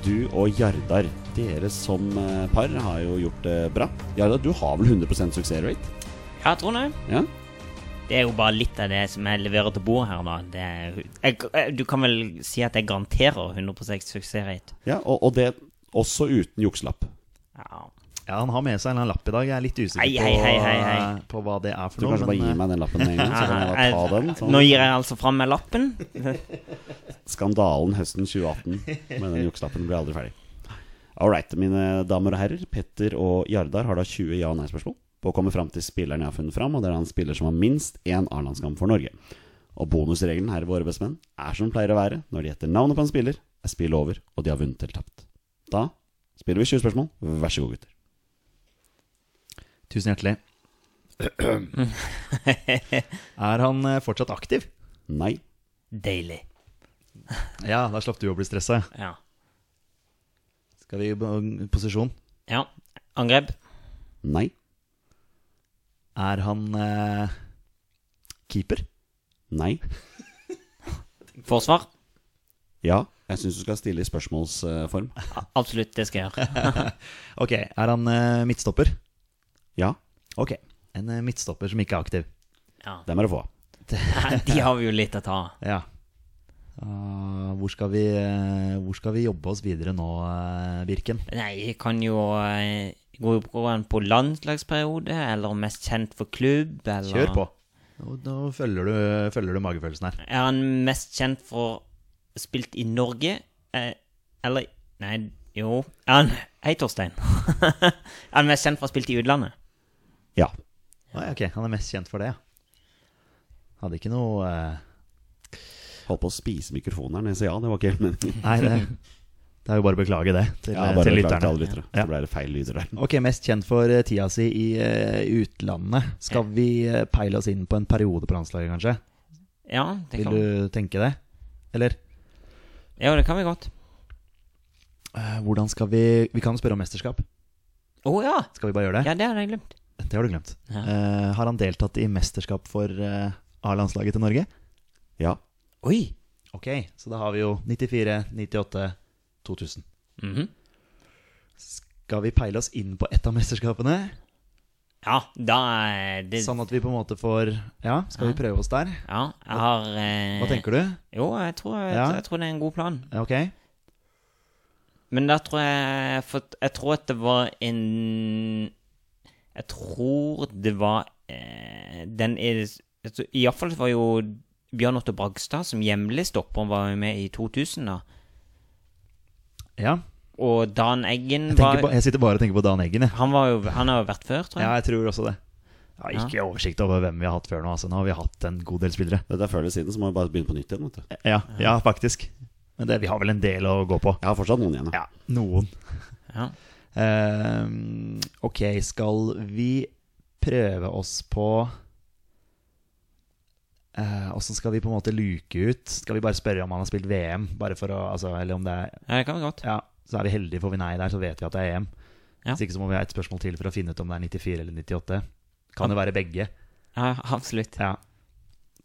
Speaker 1: du og Jardar, dere som eh, par har jo gjort det bra. Jardar, du har vel 100 suksessrate?
Speaker 2: Ja, tror jeg.
Speaker 1: Ja?
Speaker 2: Det er jo bare litt av det som jeg leverer til bordet her, da. Det er, jeg, jeg, du kan vel si at jeg garanterer 100 suksessrate.
Speaker 1: ja og, og det også uten jukselapp.
Speaker 2: Ja.
Speaker 3: Ja, Han har med seg en eller annen lapp i dag. Jeg er litt usikker
Speaker 2: Hei, hei, hei, hei, hei.
Speaker 3: På, på hva det er for
Speaker 1: Du
Speaker 3: noe.
Speaker 1: kanskje bare
Speaker 3: men, eh,
Speaker 1: gir meg den lappen med en gang, så kan jeg bare ta den.
Speaker 2: Nå
Speaker 1: Sånn.
Speaker 2: gir jeg altså fram meg lappen.
Speaker 1: Skandalen høsten 2018 med den jukselappen blir aldri ferdig. All right, mine damer og herrer. Petter og Jardar har da 20 ja- og nei-spørsmål på å komme fram til spilleren jeg har funnet fram, og det er han spiller som har minst én A-landskamp for Norge. Og bonusregelen her i Våre bestemenn er som den pleier å være når de gjetter navnet på en spiller, er spillet over, og de har vunnet eller tapt. Da spiller vi 20 spørsmål. Vær så god, gutter.
Speaker 3: eh, Tusen hjertelig. er han eh, fortsatt aktiv?
Speaker 1: Nei.
Speaker 2: Deilig.
Speaker 3: Ja, da slapp du å bli stressa.
Speaker 2: Ja.
Speaker 3: Skal vi i posisjon?
Speaker 2: ja. Angrep.
Speaker 1: Nei.
Speaker 3: Er han eh, keeper?
Speaker 1: Nei.
Speaker 2: Forsvar.
Speaker 1: Ja. Jeg syns du skal stille i spørsmålsform.
Speaker 2: Absolutt, det skal jeg gjøre.
Speaker 3: Ok, er han eh, midtstopper?
Speaker 1: Ja.
Speaker 3: Ok, en eh, midtstopper som ikke er aktiv.
Speaker 2: Ja.
Speaker 1: Dem er det få av.
Speaker 2: De har vi jo litt å ta av.
Speaker 3: Ja. Ah, hvor, skal vi, eh, hvor skal vi jobbe oss videre nå, eh, Birken?
Speaker 2: Nei, jeg kan jo eh, gå gå an på landslagsperiode, eller mest kjent for klubb, eller
Speaker 3: Kjør på. Nå, nå følger, du, følger du magefølelsen her.
Speaker 2: Er han mest kjent for spilt i Norge, eh, eller Nei, jo Er han Hei, Torstein. er han mest kjent for å ha spilt i utlandet?
Speaker 1: Ja.
Speaker 3: Ah, ja, ok, Han er mest kjent for det, ja. Hadde ikke noe eh,
Speaker 1: Holdt på å spise mikrofonen her, men jeg sa ja, det var ikke helt meningen.
Speaker 3: Nei, det, det er jo bare å beklage det til,
Speaker 1: Ja,
Speaker 3: eh,
Speaker 1: bare
Speaker 3: til
Speaker 1: beklager til
Speaker 3: lytterne.
Speaker 1: alle lyttere.
Speaker 3: Ja.
Speaker 1: Så ble det feil lyder der.
Speaker 3: Ok, mest kjent for eh, tida si i eh, utlandet. Skal vi eh, peile oss inn på en periode på landslaget, kanskje?
Speaker 2: Ja, det
Speaker 3: Vil
Speaker 2: kan,
Speaker 3: du tenke det? Eller
Speaker 2: ja, det kan vi godt.
Speaker 3: eh, hvordan skal vi Vi kan spørre om mesterskap.
Speaker 2: Å ja!
Speaker 3: Skal vi bare gjøre det?
Speaker 2: Ja, det hadde jeg glemt.
Speaker 3: Det har du glemt.
Speaker 2: Ja.
Speaker 3: Eh, har han deltatt i mesterskap for eh, A-landslaget til Norge?
Speaker 1: Ja.
Speaker 2: Oi!
Speaker 3: Ok, så da har vi jo 94, 98, 2000.
Speaker 2: Mhm.
Speaker 3: Skal vi peile oss inn på ett av mesterskapene?
Speaker 2: Ja, da er det
Speaker 3: Sånn at vi på en måte får Ja, skal vi prøve oss der?
Speaker 2: Ja, jeg har eh,
Speaker 3: Hva tenker du?
Speaker 2: Jo, jeg tror, jeg,
Speaker 3: Ja.
Speaker 2: jeg tror det er en god plan.
Speaker 3: Ja, Ok.
Speaker 2: Men da tror jeg for, Jeg tror at det var en Jeg tror det var eh, Den er altså, Iallfall var jo Bjørn Otto Bragstad, som hjemlig stopper, var jo med i 2000. da
Speaker 3: Ja.
Speaker 2: Og Dan Eggen
Speaker 3: Jeg,
Speaker 2: var,
Speaker 3: tenker på, jeg sitter bare og tenker på Dan Eggen, jeg.
Speaker 2: han, var jo, han har jo vært før, tror jeg.
Speaker 3: Ja, jeg tror også det. Jeg har ikke oversikt over hvem vi har hatt før nå. Altså, nå har vi hatt en god del spillere.
Speaker 1: Dette er før eller siden, så må vi bare begynne på nytt igjen. Vet du.
Speaker 3: Ja, ja faktisk. Men det, vi har vel en del å gå på.
Speaker 1: Jeg har fortsatt noen igjen. Ja.
Speaker 3: Ja, noen.
Speaker 2: Ja.
Speaker 3: Ehm, ok, skal vi prøve oss på Åssen skal vi på en måte luke ut? Skal vi bare spørre om han har spilt VM? Bare for å, altså, eller om det er
Speaker 2: Ja, det kan vi godt.
Speaker 3: Ja, så er vi heldige, får vi nei der, så vet vi at det er EM.
Speaker 2: Ja.
Speaker 3: Hvis ikke så må vi ha et spørsmål til for å finne ut om det er 94 eller 98. Kan det være begge?
Speaker 2: Ja, absolutt.
Speaker 3: Ja.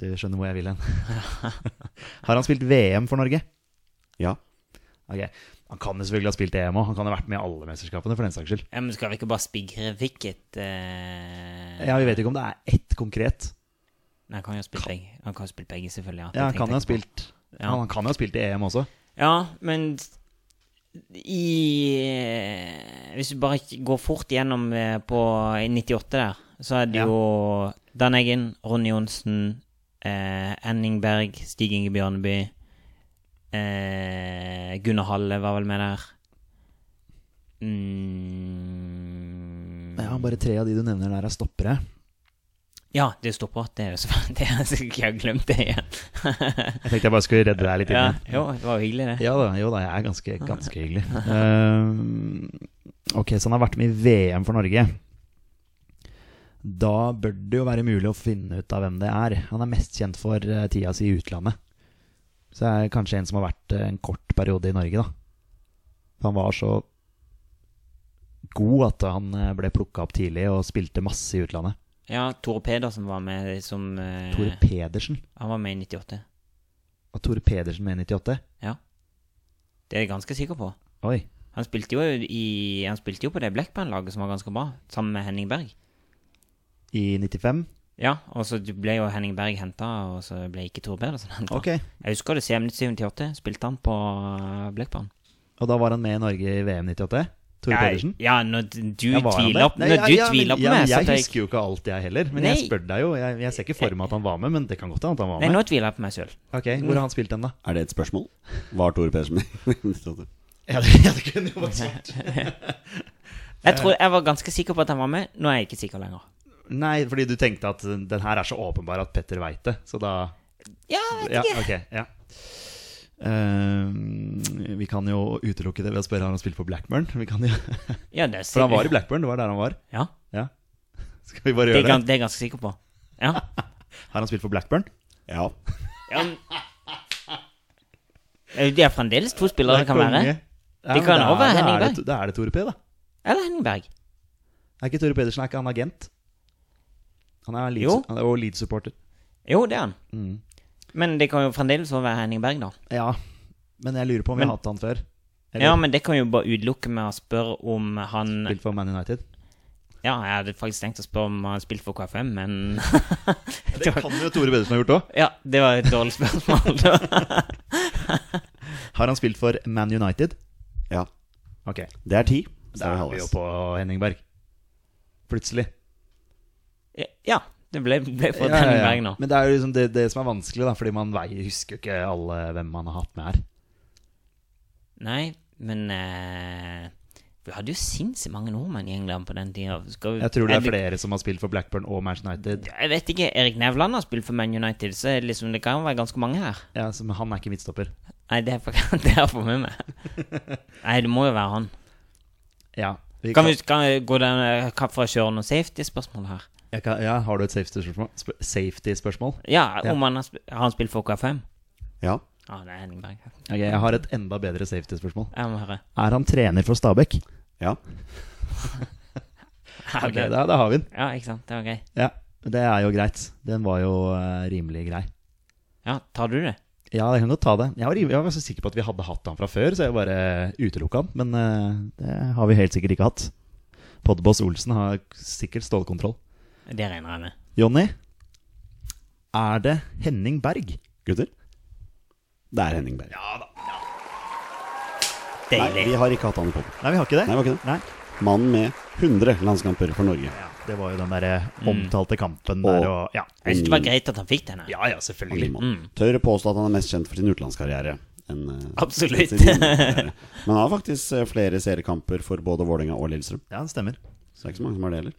Speaker 3: Du skjønner hvor jeg vil hen. har han spilt VM for Norge?
Speaker 1: Ja.
Speaker 3: Ok. Han kan jo selvfølgelig ha spilt EM òg. Han kan ha vært med i alle mesterskapene. for den saks skyld
Speaker 2: Ja, men skal vi ikke bare spigre Wicket? eh?
Speaker 3: Ja, Vi vet ikke om det er ett konkret.
Speaker 2: Nei, han kan jo ha spilt begge. Han kan ha spilt begge, selvfølgelig. ja. Det
Speaker 3: Ja, Han
Speaker 2: tenkte
Speaker 3: kan jo
Speaker 2: jeg
Speaker 3: ha
Speaker 2: ikke på.
Speaker 3: spilt
Speaker 2: Ja.
Speaker 3: Han kan jo ha spilt i EM også.
Speaker 2: Ja, men i eh, Hvis vi bare ikke går fort gjennom eh, på i 98 der, så er det
Speaker 3: Ja.
Speaker 2: jo Dan Eggen, Ronny Johnsen, eh, Henning Berg, Stig Inge Bjørneby eh, Gunnar Halle var vel med der. Mm,
Speaker 3: Ja, Bare tre av de du nevner der, er stoppere.
Speaker 2: ja, det stopper. Det er jo så det er så Jeg har glemt det igjen.
Speaker 3: Jeg tenkte jeg bare skulle redde deg litt
Speaker 2: ja,
Speaker 3: inn.
Speaker 2: jo, det var jo hyggelig, det.
Speaker 3: Ja da, jo da, jeg er ganske, ganske hyggelig. Ehm, ok, så han har vært med i VM for Norge. Da bør det jo være mulig å finne ut av hvem det er. Han er mest kjent for eh, tida si i utlandet. Så det er kanskje en som har vært eh, en kort periode i Norge, da. For han var så god at han eh, ble plukka opp tidlig og spilte masse i utlandet.
Speaker 2: Ja, Tore Pedersen var med som eh,
Speaker 3: Tore Pedersen.
Speaker 2: Han var med i 98.
Speaker 3: Og Tore Pedersen med 98?
Speaker 2: Det er jeg ganske sikker på.
Speaker 3: Oi.
Speaker 2: Han spilte jo, i, han spilte jo på det Blackband-laget som var ganske bra, sammen med Henning Berg.
Speaker 3: I 95?
Speaker 2: Ja, og så ble jo Henning Berg henta, og så ble ikke Tore Pedersen henta.
Speaker 3: Ok.
Speaker 2: Jeg husker det CM97-98. Spilte han på eh, Blackband?
Speaker 3: Og da var han med i Norge i VM 98? Tore Pedersen?
Speaker 2: Ja, når du
Speaker 3: Ja, var han
Speaker 2: tviler,
Speaker 3: det?
Speaker 2: når du
Speaker 3: ja, men-
Speaker 2: tviler på
Speaker 3: ja, men
Speaker 2: meg, så
Speaker 3: Jeg
Speaker 2: tar
Speaker 3: husker jo ikke alt, jeg heller. Men jeg
Speaker 2: Nei.
Speaker 3: spør deg jo. Jeg, jeg ser ikke for meg at han var med, men det kan godt hende at han var
Speaker 2: Nei,
Speaker 3: med.
Speaker 2: nå tviler jeg på meg sjøl.
Speaker 3: Ok, Hvor har han spilt den, da?
Speaker 1: Er det et spørsmål? Var Tore Pedersen med?
Speaker 3: Ja, det, ja, det kunne jo vært sånn.
Speaker 2: Jeg tror jeg var ganske sikker på at han var med. Nå er jeg ikke sikker lenger.
Speaker 3: Nei, fordi du tenkte at den her er så åpenbar at Petter veit det, så da
Speaker 2: Ja, jeg
Speaker 3: Ja,
Speaker 2: vet ikke.
Speaker 3: ok. ja Ehm, vi kan jo utelukke det ved å spørre har han spilt på Blackburn. Vi kan jo,
Speaker 2: Ja, det er
Speaker 3: for han var i
Speaker 2: sikkert-
Speaker 3: Blackburn, det var der han var.
Speaker 2: Ja,
Speaker 3: Ja. Skal vi bare
Speaker 2: det er,
Speaker 3: gjøre
Speaker 2: gans-
Speaker 3: det?
Speaker 2: det er jeg ganske sikker på. Ja.
Speaker 3: Har han spilt for Blackburn?
Speaker 1: Ja.
Speaker 2: Ja, men- Eh, Det er fremdeles to spillere det kan
Speaker 3: Konge.
Speaker 2: være.
Speaker 3: Ja,
Speaker 2: Det
Speaker 3: men
Speaker 2: kan
Speaker 3: da-
Speaker 2: også være
Speaker 3: da er
Speaker 2: Henning
Speaker 3: det- Da er det Tore P, da.
Speaker 2: Eller Henning Berg.
Speaker 3: Er ikke Tore Pedersen er ikke han agent? Han er
Speaker 2: Jo.
Speaker 3: Leeds- han er jo Leeds-supporter.
Speaker 2: Jo, det er han.
Speaker 3: Mm.
Speaker 2: Men det kan jo fremdeles også være Henning Berg, da.
Speaker 3: Ja, men jeg lurer på om vi
Speaker 2: Men-
Speaker 3: har hatt han før. Eller
Speaker 2: Ja, men det kan vi jo bare utelukke med å spørre om han
Speaker 3: spilt for Man United.
Speaker 2: Ja, jeg hadde faktisk tenkt å spørre om han spilte for KFM, men
Speaker 3: Det kan jo Tore Pedersen ha gjort òg.
Speaker 2: Ja, det var et dårlig spørsmål.
Speaker 3: Har han spilt for Man United?
Speaker 1: ja.
Speaker 3: Ok,
Speaker 1: Det er ti. Så
Speaker 3: da er vi jo på Henning Berg. Plutselig.
Speaker 2: ja, det ble, ble for Henning Berg nå.
Speaker 3: Men det er jo liksom det, det som er vanskelig, da, fordi man veier, husker jo ikke alle hvem man har hatt med her.
Speaker 2: Nei, men eh, Vi hadde jo sinnssykt mange nordmenn i England på den tida. Skal vi-
Speaker 3: Jeg tror det
Speaker 2: Er
Speaker 3: er flere som har spilt for Blackburn og Manchester United.
Speaker 2: Jeg vet ikke. Erik Nevland har spilt for Man United, så er det liksom, det kan jo være ganske mange her.
Speaker 3: Ja, så, men han er ikke midtstopper.
Speaker 2: Nei, det er for- det er for med meg. Nei, det må jo være han.
Speaker 3: Ja, vi
Speaker 2: Kan vi kan vi gå den eh, fra kjøren og safety-spørsmålet her?
Speaker 3: jeg kan, ja, Har du et safety-spørsmål? Sp- Safety-spørsmål?
Speaker 2: Ja,
Speaker 3: Ja.
Speaker 2: om han har, sp har han spilt for KFM?
Speaker 1: Ja.
Speaker 2: Ja, det er Henning Berg.
Speaker 3: Ok, Jeg har et enda bedre safety-spørsmål.
Speaker 2: Jeg må høre.
Speaker 3: Er han trener for Stabæk?
Speaker 1: ja.
Speaker 2: Ja,
Speaker 3: Ok,
Speaker 2: det,
Speaker 3: da, da har vi den.
Speaker 2: ja, ikke sant? Det var grei.
Speaker 3: Ja, Det er jo greit. Den var jo eh, rimelig grei.
Speaker 2: Ja, tar du det?
Speaker 3: Ja, jeg kan godt ta det. Jeg var, rim- jeg var så sikker på at vi hadde hatt han fra før, så jeg bare utelukka han. Men eh, det har vi helt sikkert ikke hatt. Podboss Olsen har sikkert stålkontroll.
Speaker 2: Det regner jeg med.
Speaker 3: Jonny, er det Henning Berg?
Speaker 1: Gutter? Det er Henning Berg. Nei,
Speaker 2: Deilig.
Speaker 1: vi har ikke hatt han i poden.
Speaker 3: Nei, vi har ikke det.
Speaker 1: Nei, det var ikke det.
Speaker 3: Nei.
Speaker 1: Mannen med 100 landskamper for Norge.
Speaker 3: Ja, det var jo den derre omtalte kampen der
Speaker 1: Og-
Speaker 3: og Ja,
Speaker 2: Jeg synes det var greit at han fikk denne.
Speaker 3: ja, ja selvfølgelig.
Speaker 1: Mm. Tør å påstå at han er mest kjent for sin utenlandskarriere. enn, eh,
Speaker 2: Absolutt.
Speaker 1: sin hjemmekarriere. Men han har faktisk eh, flere seriekamper for både Vålerenga og Lillestrøm.
Speaker 3: Ja, det stemmer.
Speaker 1: Så det er ikke så mange som har det heller.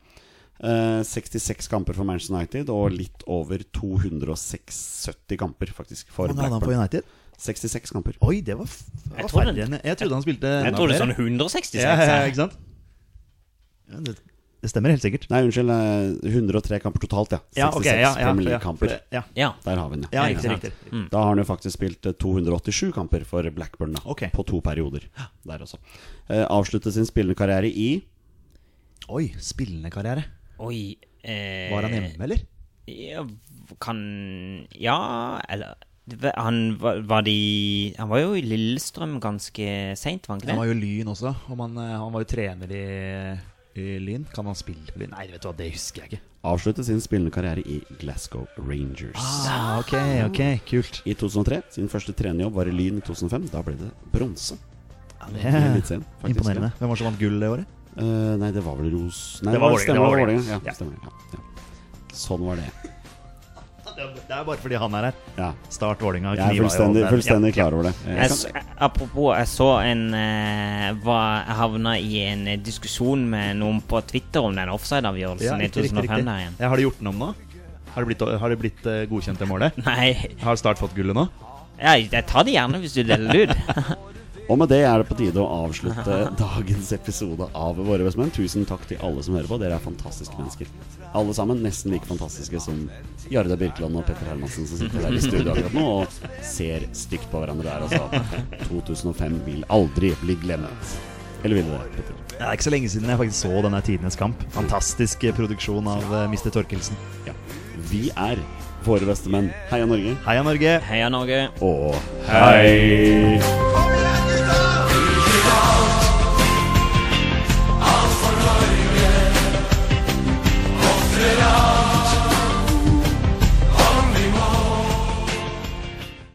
Speaker 1: Eh, 66 kamper for Manchester United og litt over 270 kamper faktisk for
Speaker 3: Men hadde han på
Speaker 1: Blackburn.
Speaker 3: United?
Speaker 1: 66 kamper.
Speaker 3: Oi, det var, f- det
Speaker 2: Jeg
Speaker 3: var
Speaker 2: trodde
Speaker 3: færre
Speaker 2: den-
Speaker 3: enn jeg trodde han spilte
Speaker 2: Jeg
Speaker 3: enda
Speaker 2: tror det er
Speaker 3: flere.
Speaker 2: sånn altså. 166
Speaker 3: ja, ja,
Speaker 2: her.
Speaker 3: ikke sant? Ja, det, det stemmer helt sikkert.
Speaker 1: Nei, unnskyld. eh, 103 kamper totalt, ja. 66 Premier League-kamper.
Speaker 3: Ja,
Speaker 2: Ja.
Speaker 1: Der har vi den,
Speaker 3: ja,
Speaker 2: Ja,
Speaker 3: riktig, Mm.
Speaker 2: ikke
Speaker 3: riktig.
Speaker 1: Da har han jo faktisk spilt eh, 287 kamper for Blackburn da,
Speaker 3: Ok.
Speaker 1: på to perioder. Der også eh, Avsluttet sin spillende karriere i
Speaker 3: Oi, spillende karriere.
Speaker 2: Oi. Eh,
Speaker 3: Var han hjemme, eller?
Speaker 2: Ja, kan Ja, eller det- han var, var de Han var jo i Lillestrøm ganske seint, var han ikke
Speaker 3: Han
Speaker 2: det?
Speaker 3: var jo Lyn også. Og man, eh, han var jo trener i, i Lyn. Kan han spille for Lyn? Nei, vet du hva, det husker jeg ikke.
Speaker 1: Avsluttet sin spillende karriere i Glasgow Rangers.
Speaker 3: Ah, ok, ok, kult.
Speaker 1: I 2003, sin første trenerjobb var i Lyn i 2005. Da ble det bronse.
Speaker 3: det
Speaker 1: I
Speaker 3: er
Speaker 1: Eliteserien, faktisk.
Speaker 3: imponerende. Hvem var det som vant gull det året?
Speaker 1: Eh, nei, det var vel Ros... Nei,
Speaker 3: Det var Vålerenga,
Speaker 1: stemmer,
Speaker 3: det var
Speaker 1: Vålerenga. Ja,
Speaker 3: Ja.
Speaker 1: stemmer det. Ja, ja. Sånn var det.
Speaker 3: Det er det er bare fordi han er her.
Speaker 1: Ja.
Speaker 3: Start Vålerenga.
Speaker 1: Jeg er
Speaker 3: kniva jo
Speaker 1: fullstendig,
Speaker 3: der.
Speaker 1: fullstendig klar over det.
Speaker 2: Jeg,
Speaker 1: Jeg
Speaker 2: s- apropos, jeg så en eh, var, Jeg havna i en eh, diskusjon med noen på Twitter om den
Speaker 3: Ja,
Speaker 2: offside-avgjørelsen i
Speaker 3: riktig, riktig,
Speaker 2: 2005
Speaker 3: riktig.
Speaker 2: der igjen.
Speaker 3: Ja, har de gjort den om nå? Har det blitt, har det blitt eh, godkjent det målet?
Speaker 2: Nei,
Speaker 3: Har Start fått gullet nå?
Speaker 2: ja, jeg tar det gjerne hvis du deler det ut.
Speaker 1: Og med det er det på tide å avslutte dagens episode av Våre bestemenn. Tusen takk til alle som hører på. Dere er fantastiske mennesker. Alle sammen nesten like fantastiske som Jarde Birkeland og Petter Hermansen som sitter der i studio akkurat nå og ser stygt på hverandre der og sa at 2005 vil aldri bli glemt. Eller ville det? Petter?
Speaker 3: Det er ikke så lenge siden jeg faktisk så denne Tidenes kamp. Fantastisk eh, produksjon av eh, Mr. Torkelsen.
Speaker 1: Ja. Vi er Våre bestemenn. Heia Norge.
Speaker 3: Heia Norge!
Speaker 2: Heia Norge.
Speaker 1: Og hei!